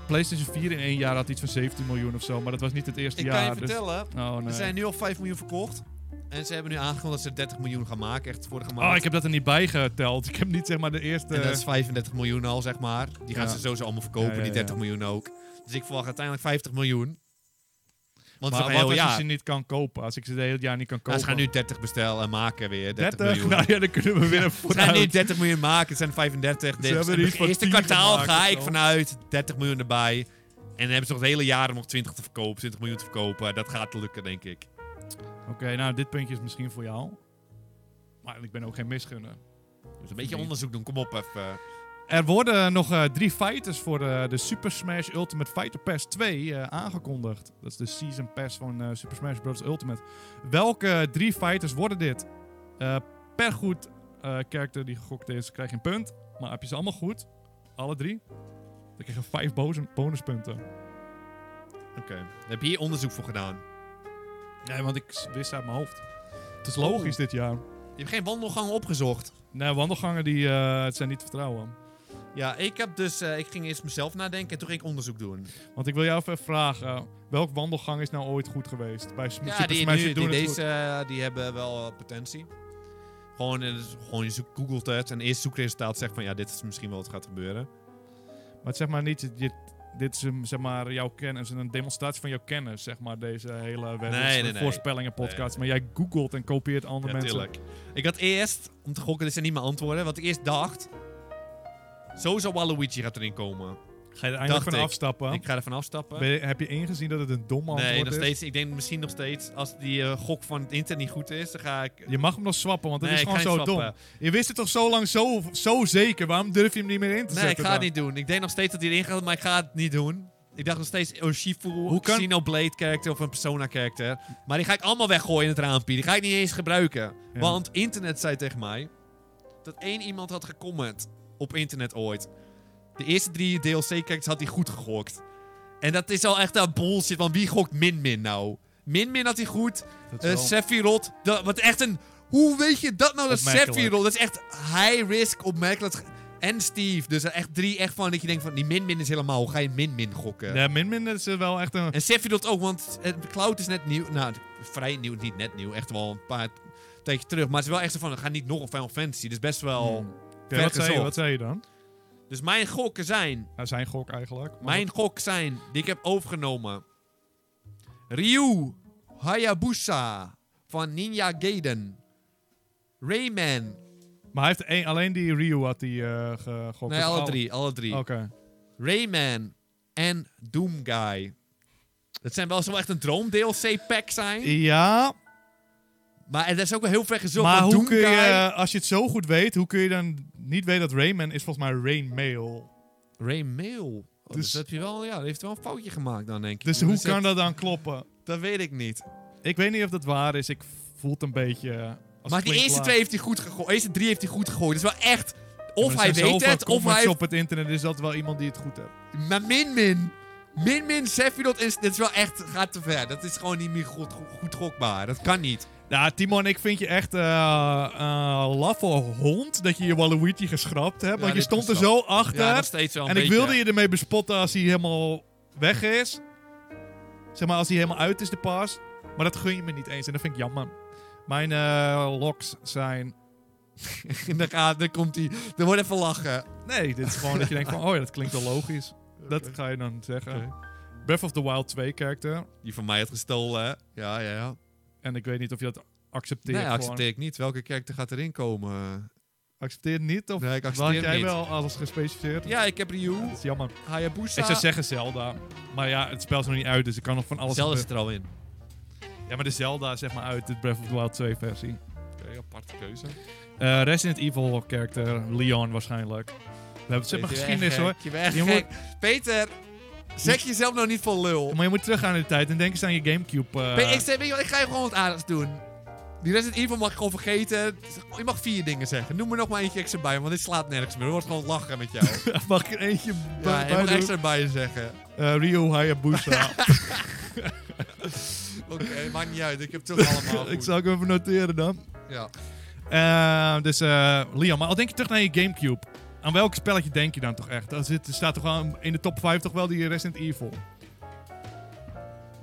PlayStation 4 in één jaar had iets van 17 miljoen of zo. Maar dat was niet het eerste Ik jaar. kan je dus- vertellen, Oh, nee. er zijn nu al 5 miljoen verkocht. En ze hebben nu aangekondigd dat ze 30 miljoen gaan maken, echt vorige maand. Oh, ik heb dat er niet bij geteld. Ik heb niet zeg maar de eerste... En dat is 35 miljoen al, zeg maar. Die gaan Ja. ze sowieso allemaal verkopen, Ja, ja, die 30 ja. miljoen ook. Dus ik verwacht uiteindelijk 50 miljoen. Want maar voor wat een heel als je jaar. ze niet kan kopen? Als ik ze het hele jaar niet kan kopen? Nou, ze gaan nu 30 bestellen en maken weer 30, 30? miljoen. Nou ja, dan kunnen we weer een ze gaan nu vooruit. 30 miljoen maken, het zijn 35. Dit hebben is er iets het van eerste 10 kwartaal gemaakt ga of ik zo. vanuit 30 miljoen erbij. En dan hebben ze nog het hele jaar om nog 20 te verkopen, 20 miljoen te verkopen. Dat gaat lukken, denk ik. Dus Oké, nou, dit puntje is misschien voor jou. Maar ik ben ook geen misgunner. Dus een beetje onderzoek doen, kom op even. Er worden nog eh, drie fighters voor eh, de Super Smash Ultimate Fighter Pass 2 eh, aangekondigd. Dat is de Season Pass van eh, Super Smash Bros. Ultimate. Welke drie fighters worden dit? Eh, per goed eh character die gegokt is, krijg je een punt. Maar heb je ze allemaal goed, alle drie, dan krijg je vijf bozen- bonuspunten. Oké, heb je hier onderzoek voor gedaan? Nee, want ik s- wist uit mijn hoofd. Oh. Het is logisch dit jaar. Je hebt geen wandelgang opgezocht. Nee, wandelgangen die, eh, het zijn niet te vertrouwen. Ja, ik heb dus, eh, ik ging eerst mezelf nadenken en toen ging ik onderzoek doen. Want ik wil jou even vragen, welk wandelgang is nou ooit goed geweest? Bij Sm- Ja, Super die, Smash nu, die doen het goed. deze, eh, die hebben wel eh, potentie. Gewoon, eh, dus gewoon je zoekt- googelt het en eerst zoekresultaat zegt van ja, dit is misschien wel wat gaat gebeuren. Maar zeg maar niet, dat je, dit is een, zeg maar jouw kennis, een demonstratie van jouw kennis, zeg maar, deze hele Nee, nee, nee. voorspellingen podcast. Maar jij googelt en kopieert andere Ja, mensen. tuurlijk. Ik had eerst, om te gokken, dit zijn niet mijn antwoorden, wat ik eerst dacht. Sowieso Waluigi gaat erin komen. Ga je er eindelijk Dacht van ik. afstappen? Ik ga ervan afstappen. Ben je- heb je ingezien dat het een dom antwoord dus? nee, nog is? steeds. Ik denk misschien nog steeds, als die eh, gok van het internet niet goed is, dan ga ik... Je mag hem nog swappen, want dat Nee, is ik gewoon ga zo niet dom. swappen. Je wist het toch zo lang zo, zo zeker? Waarom durf je hem niet meer in te Nee, ik zetten? ga het dan? niet doen. Ik denk nog steeds dat hij erin gaat, maar ik ga het niet doen. Ik dacht nog steeds Oshifu, Hoe een kan- Casino Blade character of een Persona character. Maar die ga ik allemaal weggooien in het raampje. Die ga ik niet eens gebruiken. Ja. Want internet zei tegen mij dat één iemand had gecomment op internet ooit. De eerste drie DLC-characters had hij goed gegokt. En dat is al echt een bullshit, want wie gokt Min Min nou? Min Min had hij goed. Dat is Eh wel- Sephiroth, dat, wat echt een... Hoe weet je dat nou, dat Opmerkelijk. Sephiroth? Dat is echt high risk opmerkelijk. En Steve. Dus er echt drie echt van dat je denkt van die min-min is helemaal. Hoe ga je min-min gokken? Ja, min min is eh, wel echt een... En Sheffield ook, want het- Cloud is net nieuw. Nou, vrij nieuw, niet net nieuw. Echt wel een paar tijdje terug. Maar het is wel echt zo van, we gaan niet nog een Final Fantasy. Dus best wel... Hmm. Oké, wat, zei je, gezocht. wat zei je dan? Dus mijn gokken zijn... Nou, zijn gok eigenlijk. Maar Mijn gok zijn, die ik heb overgenomen. Ryu Hayabusa van Ninja Gaiden. Rayman. Maar hij heeft één, alleen die Ryu had die eh gegokt. Nee, Of alle al- drie, alle drie. Oké. Rayman en Doom Guy. Dat zijn wel zo echt een droom DLC-pack zijn. Ja, Maar dat is ook wel heel ver gezocht. maar want hoe Doom kun je, Guy- eh, als je het zo goed weet, hoe kun je dan niet weten dat Rayman is volgens mij Rainmail. Ray Mail. Oh, dus Dus- heb je wel, ja, die heeft wel een foutje gemaakt dan, denk ik. Dus hoe dat- kan dat dan kloppen? Dat weet ik niet. Ik weet niet of dat waar is. Ik voel het een beetje... eh, Als maar die eerste twee heeft hij goed gegooid. eerste drie heeft hij goed gegooid. Dat is wel echt... Of hij weet het, of hij... op het internet is dat wel iemand die het goed heeft. Maar Min Min... Min Min, Sephiroth is... Dat is wel echt... Gaat te ver. Dat is gewoon niet meer goed, goed gokbaar. Dat kan niet. Nou, Timon, ik vind je echt eh eh, laffe hond dat je je Waluigi geschrapt hebt. Ja, want je dit stond er is zo achter. Ja, nog steeds wel een en ik beetje. wilde je ermee bespotten als hij helemaal weg is. Zeg maar, als hij helemaal uit is, de pas. Maar dat gun je me niet eens en dat vind ik jammer. Mijn eh, locks zijn... En dan, gaat, dan komt hij... Dan wordt even lachen. Nee, dit is gewoon dat je denkt van, oh ja, dat klinkt wel logisch. Dat ga je dan zeggen. Breath of the Wild 2 karakter. Die van mij had gestolen, hè? Ja, ja, ja. En ik weet niet of je dat accepteert. Nee, gewoon. accepteer ik niet. Welke karakter gaat erin komen? Accepteer het niet? Of Nee, ik accepteer had het jij niet. wel alles gespecificeerd? Ja, ik heb Dat Ryu, is jammer. Hayabusa... Ik zou zeggen Zelda. Maar ja, het spel is nog niet uit, dus ik kan nog van alles... Zelda gebeuren. zit er al in. Ja, maar de Zelda zeg maar uit de Breath of the Wild 2 versie. Oké, aparte keuze. Eh, Resident Evil character, Leon waarschijnlijk. We hebben het zeg maar geschiedenis hoor. Je bent echt Je gek. Peter, zeg jezelf nou niet van lul. Maar je moet teruggaan in de tijd en denk eens aan je Gamecube. eh, Pe- ik, zeg, weet je wat, ik ga je gewoon wat aardigs doen. Die Resident Evil mag ik gewoon vergeten. Je mag vier dingen zeggen. Noem er nog maar eentje extra bij, want dit slaat nergens meer. Er wordt gewoon lachen met jou. Mag ik er eentje ja, bij je mag doen? extra bij zeggen. Eh, Ryo Hayabusa. Oké, maakt niet uit. Ik heb het toch allemaal ik goed. zal hem even noteren dan. Ja. Eh, dus eh Leon, maar al denk je terug naar je Gamecube. Aan welk spelletje denk je dan toch echt? Er zit- er staat toch wel in de top 5 toch wel die Resident Evil.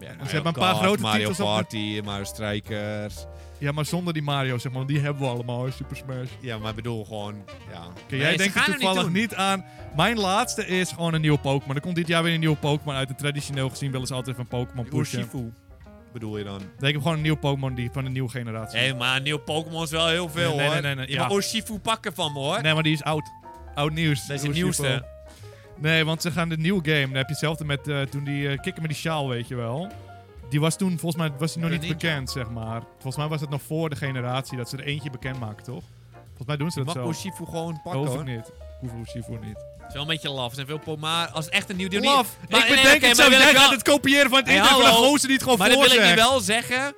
Ja, hebben een paar grote Mario titels op- Party, Mario Strikers. Ja, maar zonder die Mario zeg maar, want die hebben we allemaal in Super Smash. Ja, maar ik bedoel gewoon... Ja. Oké, jij denkt er toevallig niet, aan. Mijn laatste is gewoon een nieuwe Pokémon. Er komt dit jaar weer een nieuwe Pokémon uit. En traditioneel gezien willen ze altijd van Pokémon pushen. Urshifu bedoel je dan? Denk hem gewoon een nieuwe Pokémon die van de nieuwe generatie. Hé, maar een nieuw Pokémon is wel heel Nee, veel, nee, hoor. nee, nee, nee, je ja. mag Urshifu pakken van me, hoor. Nee, maar die is oud. Oud nieuws. Dat is het Urshifu. Eh? nieuwste. Nee, want ze gaan de nieuwe game. Dan heb je hetzelfde met eh, toen die eh, kikker met die sjaal, weet je wel. Die was toen volgens mij was die nog niet Greninja. bekend, zeg maar. Volgens mij was het nog voor de generatie dat ze er eentje bekend maken, toch? Volgens mij doen ze Je dat mag zo. Urshifu gewoon Dat pakken, hoef hoor. ik niet. Ik hoef Urshifu niet. Het is wel een beetje laf. Er zijn veel po- maar als het echt een nieuw deel... Laf, niet, maar, ik nee, bedenk oké, het maar zo. wil Jij ik wel- gaat het kopiëren van het Hey, internet van hallo. de gozer die het gewoon Maar dan wil ik nu voorzegt. wel zeggen...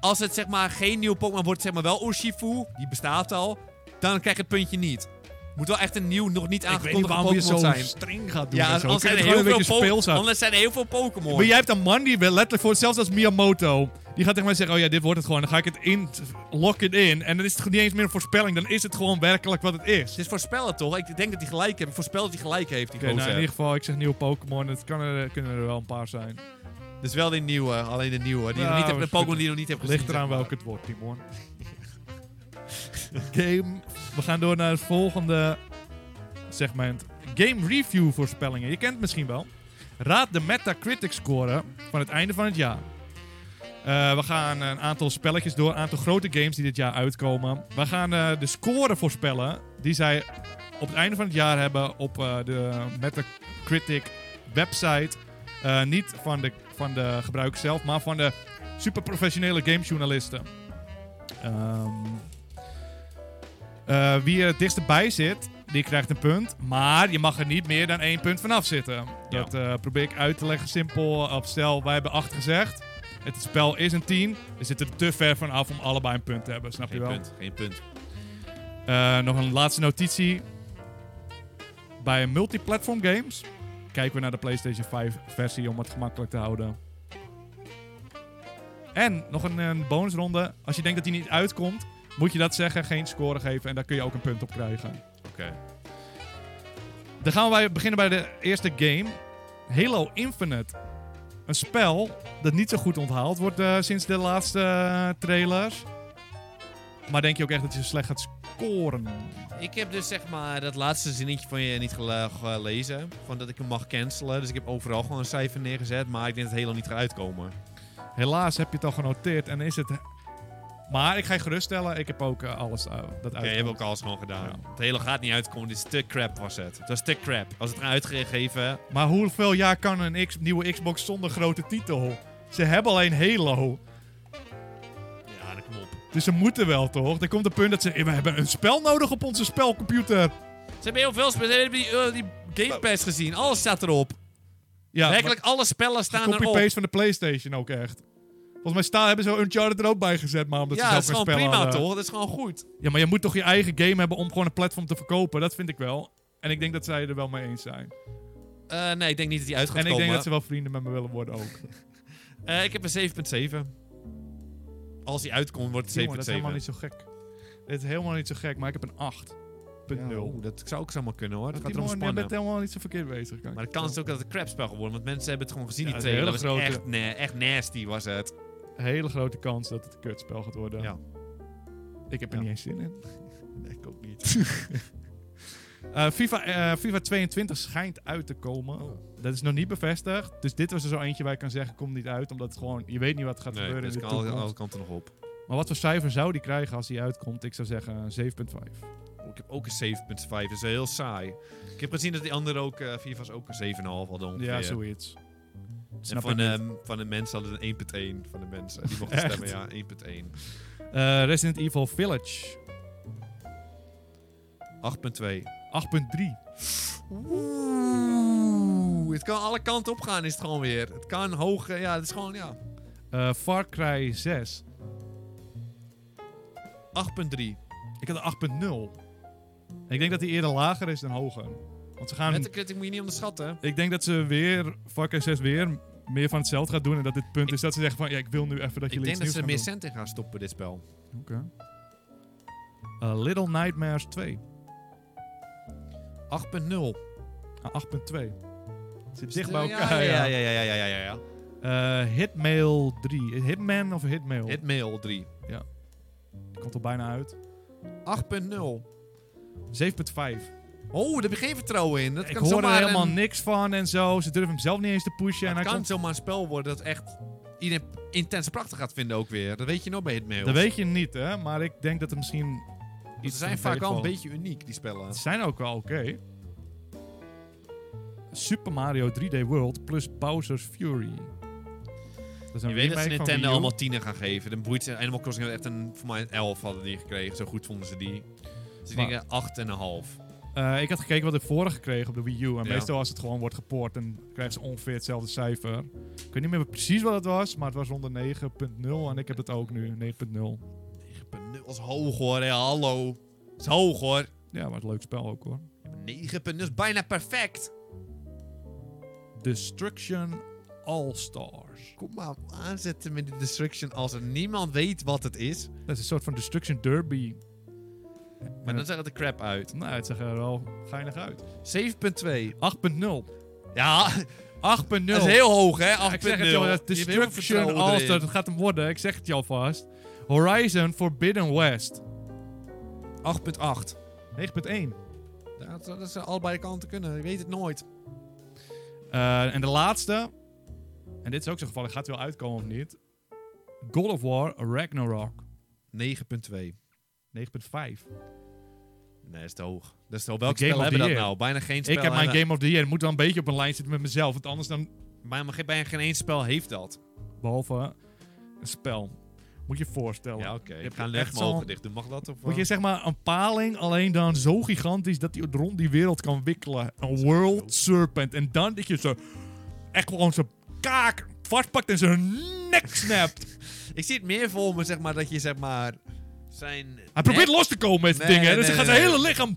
Als het zeg maar geen nieuw Pokémon wordt, zeg maar wel Urshifu, die bestaat al, dan krijg je het puntje niet. Moet wel echt een nieuw, nog niet Ik weet niet aangekondigd waarom je zo Pokémon zijn. streng gaat doen. Ja, en zo. anders Kun je zijn, er het heel gewoon veel een beetje speels po- houden. anders zijn er heel veel Pokémon. Maar jij hebt een man die wil letterlijk voor hetzelfde als Miyamoto. Die gaat tegen mij zeggen, oh ja, dit wordt het gewoon. Dan ga ik het in, lock it in. En dan is het niet eens meer een voorspelling. Dan is het gewoon werkelijk wat het is. Het is voorspellen toch? Ik denk dat hij gelijk heeft. Ik voorspel dat hij gelijk heeft, die Oké, nou, in gozer. ieder geval, ik zeg nieuwe Pokémon. Het kan er, kunnen er wel een paar zijn. Dus wel die nieuwe, alleen de nieuwe. Die je nog Nou, niet hebt, de is goed. Pokémon die je nog niet hebt gezien. Ligt zeg eraan maar. welke het wordt, Timon. Game. We gaan door naar het volgende segment. Game review voorspellingen. Je kent het misschien wel. Raad de Metacritic score van het einde van het jaar. Eh, we gaan een aantal spelletjes door, een aantal grote games die dit jaar uitkomen. We gaan eh, de score voorspellen die zij op het einde van het jaar hebben op eh, de Metacritic website. Eh, niet van de, van de gebruiker zelf, maar van de superprofessionele gamejournalisten. Ehm eh, wie er het dichtstbij zit, die krijgt een punt. Maar je mag er niet meer dan één punt vanaf zitten. Dat eh, probeer ik uit te leggen simpel. Op stel, wij hebben 8 gezegd. Het spel is een 10. We zitten er te ver van af om allebei een punt te hebben. Snap je Geen wel? punt, geen punt. Eh, nog een laatste notitie. Bij multiplatform games kijken we naar de PlayStation 5 versie om het gemakkelijk te houden. En nog een, een bonusronde. Als je denkt dat die niet uitkomt, moet je dat zeggen, geen score geven en daar kun je ook een punt op krijgen. Oké. Dan gaan wij beginnen bij de eerste game. Halo Infinite. Een spel dat niet zo goed onthaald wordt eh, sinds de laatste eh, trailers. Maar denk je ook echt dat je slecht gaat scoren? Ik heb dus zeg maar dat laatste zinnetje van je niet gele- gelezen. Van dat ik hem mag cancelen. Dus ik heb overal gewoon een cijfer neergezet. Maar ik denk dat het helemaal niet gaat uitkomen. Helaas heb je het al genoteerd en is het... Maar ik ga je geruststellen, ik heb ook eh, alles eh, dat Oké, uit. je hebt ook alles gewoon gedaan. Het hele gaat niet uitkomen. Dit is te crap was het. Het was te crap. Als het eraan uitgegeven... Maar hoeveel jaar kan een X- nieuwe Xbox zonder grote titel? Ze hebben alleen Halo. Ja, dan kom op. Dus ze moeten wel, toch? Er komt een punt dat ze... We hebben een spel nodig op onze spelcomputer. Ze hebben heel veel spellen. Ze hebben die, eh, die Game Pass gezien. Alles staat erop. Ja, maar- Werkelijk alle spellen staan erop. Copy-paste van de PlayStation ook echt. Volgens mij staan, hebben ze Uncharted er ook bij gezet, maar omdat Ja, ze dat is zelf geen gewoon spel prima hadden. toch? Dat is gewoon goed. Ja, maar je moet toch je eigen game hebben om gewoon een platform te verkopen. Dat vind ik wel. En ik denk dat zij er wel mee eens zijn. Eh, nee, ik denk niet dat die uit gaat en ik komen. denk dat ze wel vrienden met me willen worden ook. Eh, ik heb een 7.7. Als die uitkomt, wordt het 7.7. Jongen, dat is helemaal niet zo gek. Dit is helemaal niet zo gek, maar ik heb een 8.0. Ja, oeh, dat zou ook zomaar kunnen hoor. Dat gaat Die erom man, je spannen. bent helemaal niet zo verkeerd bezig. kan ik Maar de je kans is ook dat het een crapspel geworden want mensen hebben het gewoon gezien, Ja, die het is een trailer. Dat hele was echt, grote- nee, echt nasty was het. vertellen. Een hele grote kans dat het een kutspel gaat worden. Ja. Ik heb er Ja. niet eens zin in. ik ook niet. Eh, FIFA, eh, FIFA 22 schijnt uit te komen. Oh. Dat is nog niet bevestigd. Dus dit was er zo eentje waar je kan zeggen, komt niet uit. Omdat het gewoon, je weet niet wat gaat nee, gebeuren dus in de kan alle, toekomst. alle kanten nog op. Maar wat voor cijfer zou die krijgen als die uitkomt? Ik zou zeggen een 7.5. Oh, ik heb ook een 7.5, dat is heel saai. Ik heb gezien dat die andere ook, eh FIFA's ook een 7,5 hadden ongeveer. Ja, zoiets. En Snap van, ik niet. ehm, van de mensen hadden een 1.1 van de mensen. Die mochten Echt? stemmen, ja, 1.1. Eh, Resident Evil Village 8.2. 8.3. Oeh, het kan alle kanten op gaan is het gewoon weer. Het kan hoog, eh, ja, het is gewoon, ja. Eh Far Cry 6. 8.3. Ik had een 8.0. En ik denk dat die eerder lager is dan hoger. Want ze gaan... Metacritic moet je niet onderschatten. Ik denk dat ze weer, Far Cry 6 weer, meer van hetzelfde gaat doen. En dat dit punt Ik- is dat ze zeggen van, ja, ik wil nu even dat Ik jullie denk dat iets ze er meer nieuws gaan cent in gaan stoppen, dit spel. doen. Oké. Eh, Little Nightmares 2. 8.0. Ah, 8.2. Zit dicht Eh, bij ja, elkaar. Ja, ja, ja, ja, ja, ja. ja, ja. Eh, Hitmail 3. Hitman of Hitmail? Hitmail 3. Die komt al bijna uit. 8.0. 7.5. Oh, daar heb je geen vertrouwen in. Dat Ik kan hoor er zomaar helemaal een, niks van en zo. Ze durven hem zelf niet eens te pushen. en Het hij kan komt... zomaar een spel worden dat echt iedereen intens prachtig gaat vinden ook weer. Dat weet je nog bij Hitmail. Dat weet je niet, hè. Maar ik denk dat er misschien... Ze iets zijn van vaak wel een tegenvalt. beetje uniek, die spellen. Het zijn ook wel oké. Super Mario 3D World plus Bowser's Fury. Dat is een Je weet dat ze remake van Wii Nintendo U. allemaal tienen gaan geven. Dan boeit ze Animal Crossing had echt een, voor mij een 11 hadden die gekregen. Zo goed vonden ze die. Dus ik Maar- denk 8,5. Eh, ik had gekeken wat ik vorige kreeg op de Wii U. En Ja. meestal als het gewoon wordt gepoord, dan krijgen ze ongeveer hetzelfde cijfer. Ik weet niet meer precies wat het was, maar het was rond de 9.0. En ik heb het ook nu, 9.0. 9,0 is hoog hoor, hè. hallo. Dat is hoog hoor. Ja, maar het leuk spel ook hoor. 9,0 is dus bijna perfect. Destruction All-Stars. Kom maar aanzetten met de destruction als er niemand weet wat het is. Dat is een soort van Destruction Derby. Maar dan zag het er crap uit. Nou, het zag er wel geinig uit. 7,2. 8.0. 8.0 Ja, dat is heel hoog hè, 8,0. Ja, ik zeg het jou, dat Je hebt heel veel Destruction vertrouwen All-Stars, erin. dat gaat hem worden. Ik zeg het je alvast. Horizon Forbidden West. 8,8. 9.1. Ja, dat- Dat zou allebei kanten kunnen, je weet het nooit. Eh, en de laatste. En dit is ook zo'n geval. Gaat het wel uitkomen of niet? God of War Ragnarok. 9,2. 9.5. Nee, dat is te hoog. Dat is te hoog. Welk Game spel of hebben the dat year. nou? Bijna geen spel. Ik heb mijn hebben- Game of the Year. Het moet wel een beetje op een lijn zitten met mezelf. Want anders dan... Maar maar geen- bijna geen één spel heeft dat. Oh, Behalve een spel. Moet je je voorstellen. Ja, oké. Ik hebt ga een echt legmogen zo'n- dicht doen. Mag dat? Of, Moet eh? je zeg maar een paling alleen dan zo gigantisch dat die rond die wereld kan wikkelen. Een world serpent. En dan dat je zo echt gewoon zijn kaak vastpakt en zijn nek snapt. Ik zie het meer voor me, zeg maar, dat je zeg maar... Zijn Hij probeert nek- los te komen met Nee, dingen. hè. nee, dus hij nee, gaat zijn nee. hele lichaam...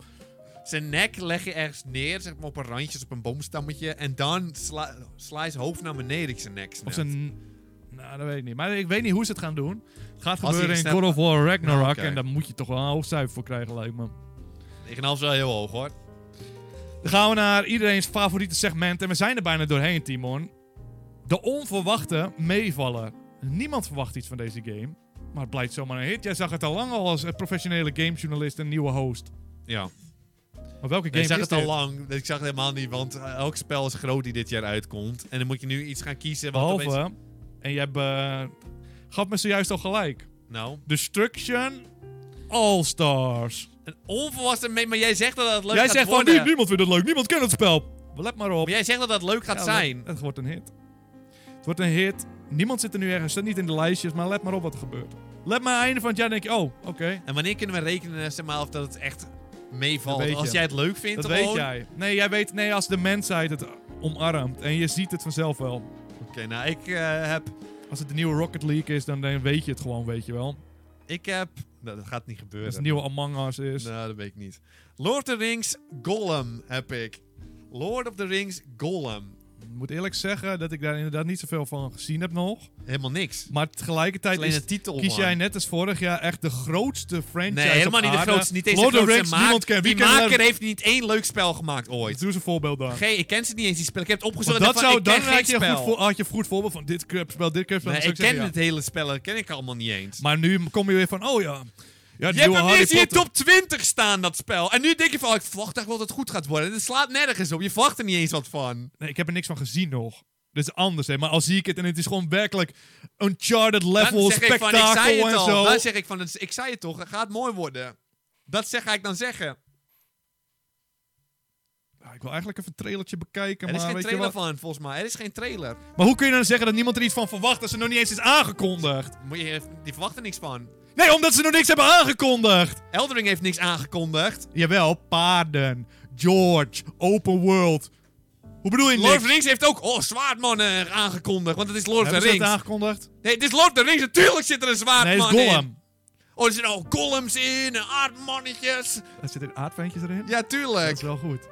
Zijn nek leg je ergens neer, zeg maar op een randje, als op een boomstammetje. En dan sla, sla je zijn hoofd naar beneden, ik zijn nek Of snapt. zijn... Nou, dat weet ik niet. Maar ik weet niet hoe ze het gaan doen. Het gaat Als gebeuren hij in snapt- God of War Ragnarok. Ja, oké. En daar moet je toch wel een hoog cijfer voor krijgen, lijkt me. 9,5 is wel heel hoog, hoor. Dan gaan we naar iedereen's favoriete segment. En we zijn er bijna doorheen, Timon. De onverwachte meevallen. Niemand verwacht iets van deze game. Maar het blijkt zomaar een hit. Jij zag het al lang al als eh, professionele gamejournalist en nieuwe host. Ja. Maar welke game Ik zag is het al dit? lang. Ik zag het helemaal niet, want eh, elk spel is groot die dit jaar uitkomt. En dan moet je nu iets gaan kiezen. Wat Behalve, opeens- en je hebt, eh, gaf me zojuist al gelijk. Nou, Destruction All-Stars. een onvolwassen mee, maar jij zegt dat het leuk Jij gaat zegt van, worden. "Nee, niemand vindt het leuk, niemand kent het spel. Let maar op. Maar jij zegt dat dat leuk gaat Ja, zijn. Het, het wordt een hit. Het wordt een hit. Niemand zit er nu ergens, staat niet in de lijstjes, maar let maar op wat er gebeurt. Let maar aan het einde van het jaar denk je, oh, oké. En wanneer kunnen we rekenen, zeg maar, of dat het echt Dat meevalt? weet Als je. jij het leuk vindt, Dat gewoon. weet jij. Nee, jij weet, nee, als de mensheid het omarmt en je ziet het vanzelf wel. Oké, nou, ik eh, heb... Als het de nieuwe Rocket League is, dan dan weet je het gewoon, weet je wel. Ik heb... Nou, dat gaat niet gebeuren. Als het nieuwe Among Us is. Nou, dat weet ik niet. Lord of the Rings Golem heb ik. Lord of the Rings Golem. Ik moet eerlijk zeggen dat ik daar inderdaad niet zoveel van gezien heb nog. Helemaal niks. Maar tegelijkertijd Alleen is, de titel, kies man. jij net als vorig jaar echt de grootste franchise Nee, helemaal op niet de aarde. grootste. Niet eens Lord de of the grootste Rings, maak- niemand kent. Wie Die kent Lord- maker heeft niet één leuk spel gemaakt ooit. Doe eens een voorbeeld dan. Geen, ik ken ze niet eens, die spel. Ik heb het Want opgezocht en dat ik dacht zou, van, ik dan ken geen had je, een goed, spel. voor- had je een goed voorbeeld van dit crapspel, dit crapspel. Nee, dan zou ik ken zeggen, het hele spel, ken ik allemaal niet eens. ja. Maar nu kom je weer van, oh ja. ja je hebt hem eerst in je top 20 staan, dat spel. En nu denk je van, oh, ik verwacht echt wel dat het goed gaat worden. Het slaat nergens op, je verwacht er niet eens wat van. Nee, ik heb er niks van gezien nog. Dit is anders, hè. Maar als zie ik het en het is gewoon werkelijk Uncharted Dan level, zeg ik van, ik spektakel zei het en al. zo. Dan zeg ik van, het- ik zei het toch, het gaat mooi worden. Dat zeg, ga ik dan zeggen. Ja, ik wil eigenlijk even een trailertje bekijken, Er maar is geen weet je trailer wat. van, volgens mij. Er is geen trailer. Maar hoe kun je dan zeggen dat niemand er iets van verwacht als ze nog niet eens is aangekondigd? Moet je, die verwachten niks van. Nee, omdat ze nog niks hebben aangekondigd! Eldering heeft niks aangekondigd. Jawel, paarden, George, open world. Hoe bedoel je Lord of niks? the Rings heeft ook oh, Zwaardman eh, aangekondigd, want het is Lord of the Hebben ze dat Rings. aangekondigd? Nee, het is Lord of the Rings, natuurlijk zit er een Nee, het is Zwaardman Gollum. in. Oh, er zitten al golems in en aardmannetjes. Er zitten aardventjes erin. Ja, Dat tuurlijk. is wel goed.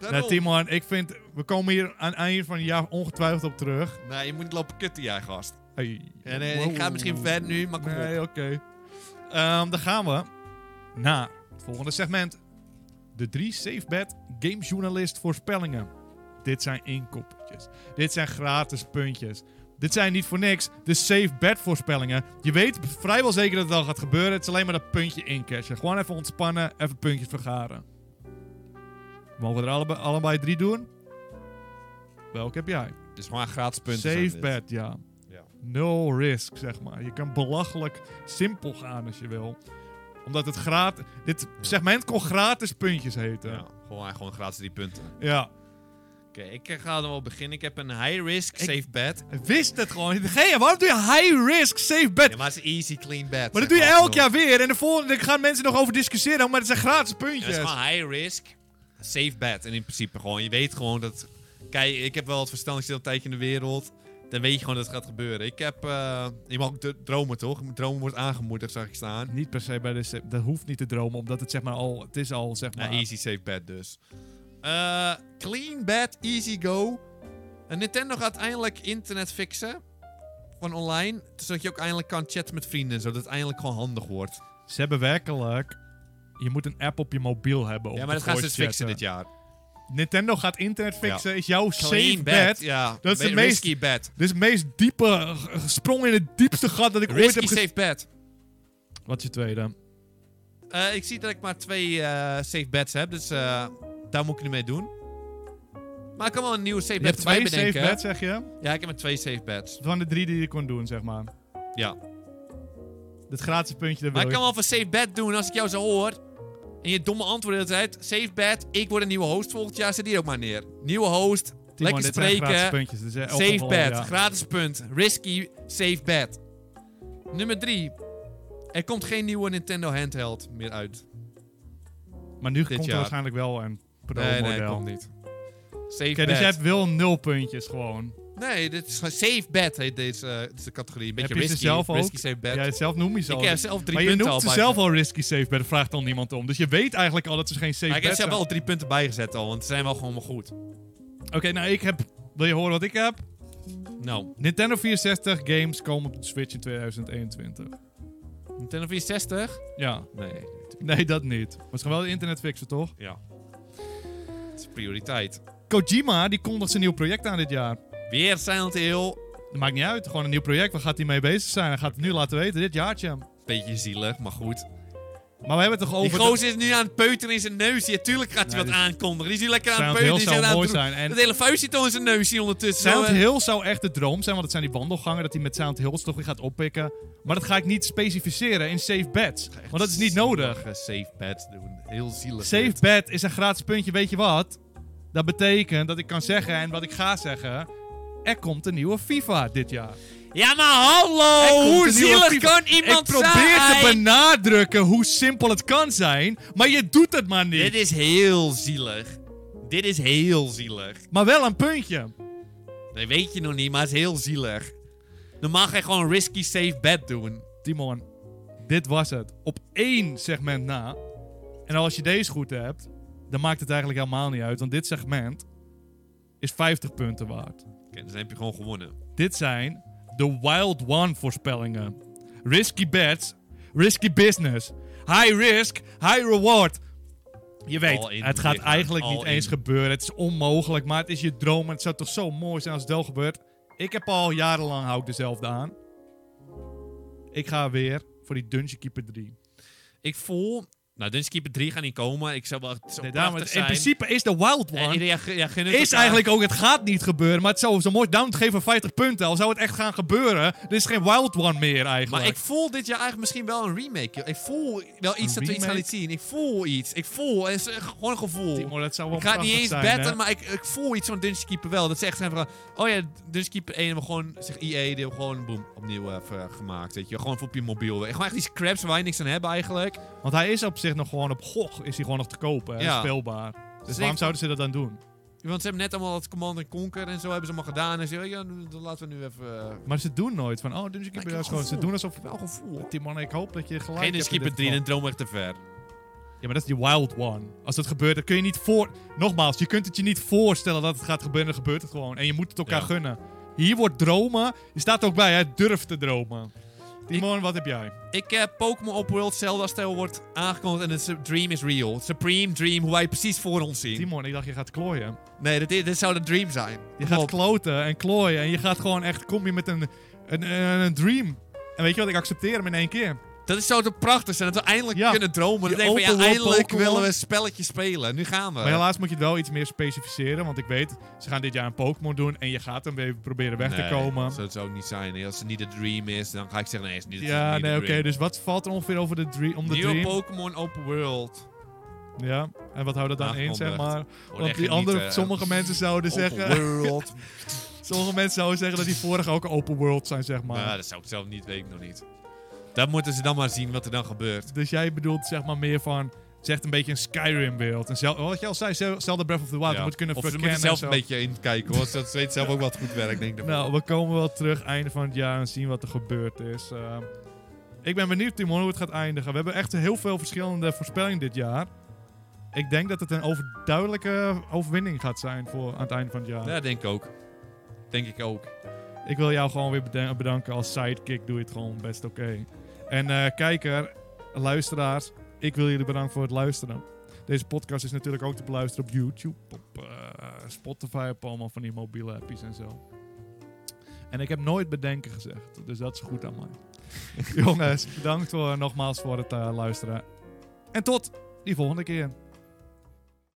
Nou, Daarom. Timon, ik vind... We komen hier aan het einde van het jaar ongetwijfeld op terug. Nee, je moet niet lopen kutten, jij gast. Hey. En, eh, Ik ga misschien verder nu, maar kom op. Nee, oké. Ehm, dan gaan we naar het volgende segment. De drie SafeBet Gamejournalist voorspellingen. Dit zijn inkoppertjes. Dit zijn gratis puntjes. Dit zijn niet voor niks de SafeBet voorspellingen. Je weet vrijwel zeker dat het al gaat gebeuren. Het is alleen maar dat puntje incashen. Gewoon even ontspannen, even puntjes vergaren. We mogen er allebei, allebei drie doen. Welke heb jij? Het is gewoon gratis punten. Safe bet, ja. Ja. No risk, zeg maar. Je kan belachelijk simpel gaan als je wil. Omdat het gratis... Dit segment kon gratis puntjes heten. Ja, Ja. eh, gewoon, gewoon gratis die punten. Oké, ik eh, ga dan wel beginnen. Ik heb een high risk, Ik- safe bet. Wist het gewoon. Geen, waarom doe je high risk, safe bet? Ja, maar het is een easy, clean bet. maar dat doe zeg je elk toch? jaar weer. En de volgende daar gaan mensen nog over discussiëren. Maar het zijn gratis Ja, dat puntjes. is gewoon high risk, safe bet. En in principe gewoon, je weet gewoon dat... Kijk, ik heb wel het verstandigste tijdje in de wereld. Dan weet je gewoon dat het gaat gebeuren. Ik heb... eh, je mag ook d- dromen, toch? Dromen wordt aangemoedigd, zag ik staan. Niet per se bij de... sa- Dat hoeft niet te dromen. Omdat het zeg maar al... Het is al zeg maar... Nou, easy safe bet dus. Eh, clean bet, easy go. En Nintendo gaat eindelijk internet fixen. Van online. Zodat je ook eindelijk kan chatten met vrienden. Zodat het eindelijk gewoon handig wordt. Ze hebben werkelijk... Je moet een app op je mobiel hebben. om ja, te maar dat gaan ze dus voice fixen chatten. dit jaar. Nintendo gaat internet fixen, is jouw safe Clean bet. Ja, Dat is de Ri- meest- risky bet. Dit is het meest diepe eh, g- g- sprong in het diepste gat dat ik ooit Risky heb gezien. safe bet. Wat is je tweede? Eh, ik zie dat ik maar twee eh, safe bets heb, dus eh, daar moet ik nu mee doen. Maar ik kan wel een nieuwe safe Je bet hebt erbij twee safe bedenken. bets, zeg je? Ja, ik heb maar twee safe bets. Van de drie die je kon doen, zeg maar. Ja. Dat gratis puntje, dat wil Maar ik ik. kan wel even safe bet doen als ik jou zo hoor. En je domme antwoord de hele tijd. Safe bet, ik word een nieuwe host volgend jaar. Zet hier ook maar neer. Nieuwe host, Timon, lekker dit zijn gratis spreken. puntjes. Dit is echt Safe ongelooflijk, bet, ja. gratis punt. Risky, safe bet. Nummer drie. Er komt geen nieuwe Nintendo handheld meer uit. Maar nu komt er jaar. waarschijnlijk wel een nee, pro-model. nee, komt niet. Safe Oké, bet. dus jij wil nul puntjes gewoon. Nee, dit is gewoon safe bet heet deze, eh, deze categorie. Een beetje Heb je ze risky, zelf ook? risky safe bet. Jij zelf noem je ze ik al. heb zelf drie Dus- maar je punten al noemt ze bij- zelf al risky safe bet, vraagt dan niemand om. Dus je weet eigenlijk al dat ze geen safe Maar ik heb bet zelf zijn. wel drie punten bijgezet al, want ze zijn wel gewoon maar goed. Oké, nou ik heb... Wil je horen wat ik heb? Nou, Nintendo 64 games komen op de Switch in 2021. Nintendo 64? Ja, Nee. nee, dat niet. Maar ze gaan wel de internet fixen, toch? Ja. is prioriteit. Kojima die kondigt zijn nieuw project aan dit jaar. Weer Silent Hill. Dat maakt niet uit. Gewoon een nieuw project. Waar gaat hij mee bezig zijn? Hij gaat het nu laten weten. Dit jaartje. Beetje zielig, maar goed. Maar we hebben het toch Die over... gozer is nu aan het peuteren in zijn neus. Ja, tuurlijk gaat hij Nee, wat die- aankondigen. Die is nu lekker aan het Silent peuteren. Hill Die is zou aan mooi het doen. zijn. En Dat hele vuist zit al in zijn neus hier ondertussen. Sound Zo, eh, Hill zou echt de droom zijn, want het zijn die wandelgangen dat hij met Sound Hills toch weer gaat oppikken. Maar dat ga ik niet specificeren in Safe Bets, echt want dat is niet nodig. zielige Safe bed doen. Heel zielig. Safe dit. Bet is een gratis puntje, weet je wat? Dat betekent dat ik kan zeggen en wat ik ga zeggen. Er komt een nieuwe FIFA dit jaar. Ja, maar hallo! Er komt Oh, Hoe een nieuwe zielig FIFA. kan iemand ik probeer zijn? te benadrukken hoe simpel het kan zijn, maar je doet het maar niet. Dit is heel zielig. Dit is heel zielig. Maar wel een puntje. Nee, weet je nog niet, maar het is heel zielig. Normaal ga je gewoon een risky safe bet doen. Timon, dit was het. Op één segment na. En als je deze goed hebt, dan maakt het eigenlijk helemaal niet uit. Want dit segment is 50 punten waard. Oké, dus dan heb je gewoon gewonnen. Dit zijn de Wild One voorspellingen. Risky bets, risky business. High risk, high reward. Je weet, Al in het gaat lichaam, eigenlijk al niet eens in. gebeuren. Het is onmogelijk, maar het is je droom. En het zou toch zo mooi zijn als het wel gebeurt. Ik heb al jarenlang hou ik dezelfde aan. Ik ga weer voor die Dungeon Keeper 3. Ik voel... Nou, Dungeon Keeper 3 gaan niet komen. Ik zou wel... Het zou Nee, daarom, prachtig het- in zijn. principe is de Wild En One... iedereen ja, ja, gunnen het Is elkaar. eigenlijk ook, het gaat niet gebeuren. Maar het zou zo mooi down te geven van 50 punten. Al zou het echt gaan gebeuren, er is geen Wild One meer eigenlijk. Maar ik voel dit jaar eigenlijk misschien wel een remake. joh. Ik voel wel iets dat we iets remake? gaan laten zien. Ik voel iets. Ik voel... Het is eh, gewoon een gevoel. Timo, dat zou wel Ik ga het niet prachtig eens zijn, betten, hè? maar ik, ik voel iets van Dungeon Keeper wel. Dat ze echt zijn van, oh ja, Dungeon Keeper 1 hebben we gewoon, zeg EA, die hebben we gewoon boem, opnieuw even gemaakt. Weet je, gewoon voor op je mobiel. Gewoon echt die scraps waar je niks aan hebt eigenlijk. Want hij is op zich nog gewoon op GOG, is hij gewoon nog te kopen, hè, Ja. speelbaar. Dus Dus waarom ik- zouden ze dat dan doen? Want ze hebben net allemaal dat Command Conquer en zo hebben ze allemaal gedaan. En ze, oh ja, nu- dan laten we nu even... eh, Maar ze doen nooit van, oh, Dungeon ik Keeper heb is gewoon, ze gevoel. doen alsof... wel gevoel. hoor. Timon, ik hoop dat je gelijk Geen hebt in Dungeon Keeper dit 3, dan geval. droom echt te ver. Ja, maar dat is die wild one. Als dat gebeurt, dan kun je niet voor... Nogmaals, je kunt het je niet voorstellen dat het gaat gebeuren, dan gebeurt het gewoon. En je moet het elkaar Ja. gunnen. Hier wordt dromen, je staat er ook bij, hè, durf te dromen. Timon, wat heb jij? Ik heb Pokémon op World Zelda stijl wordt aangekondigd en het is- dream is real. Supreme dream, hoe wij precies voor ons zien. Timon, ik dacht je gaat klooien. Nee, dit, is- dit zou de dream zijn. Je Kom gaat op. kloten en klooien en je gaat gewoon echt, kom je met een, een, een, een dream. En weet je wat, ik accepteer hem in één keer. Dat is zo te prachtig zijn, dat we eindelijk Ja. kunnen Die dromen. Dat we open ja, world eindelijk Pokémon. willen we een spelletje spelen. Nu gaan we. Maar helaas moet je het wel iets meer specificeren. Want ik weet, ze gaan dit jaar een Pokémon doen. En je gaat hem weer proberen weg Nee, te komen. Dat zou het ook niet zijn. Als het niet de dream is, dan ga ik zeggen, nee, het is niet Ja, niet nee, de oké. dream. dus wat valt er ongeveer over de dream, om de Nieuwe dream? Pokémon Open World. Ja, en wat houdt dat dan in, zeg maar? Aangekondigd. Wordt Want echt die andere, genieten. sommige mensen zouden Open zeggen... World. Sommige mensen zouden zeggen dat die vorige ook een open world zijn, zeg maar. Nou, dat zou ik zelf niet weten, nog niet. Dat moeten ze dan maar zien wat er dan gebeurt. Dus jij bedoelt zeg maar meer van... Het is echt een beetje een Skyrim-wereld. En zelf, wat je al zei, zel- Zelda Breath of the Wild. Ja. Je moet kunnen of ze verkennen moeten en zelf zo. een beetje inkijken hoor. Ze weten zelf ook wat goed werkt, denk ik. Nou, we komen wel terug einde van het jaar en zien wat er gebeurd is. Eh, ik ben benieuwd, Timon, hoe het gaat eindigen. We hebben echt heel veel verschillende voorspellingen dit jaar. Ik denk dat het een overduidelijke overwinning gaat zijn voor aan het einde van het jaar. Ja, denk ik ook. Denk ik ook. Ik wil jou gewoon weer beden- bedanken. Als sidekick doe je het gewoon best oké. En eh, kijker, luisteraars, ik wil jullie bedanken voor het luisteren. Deze podcast is natuurlijk ook te beluisteren op YouTube, op eh, Spotify, op allemaal van die mobiele appies en zo. En ik heb nooit bedenken gezegd, dus dat is goed aan mij. Jongens, bedankt voor, nogmaals voor het eh, luisteren. En tot die volgende keer.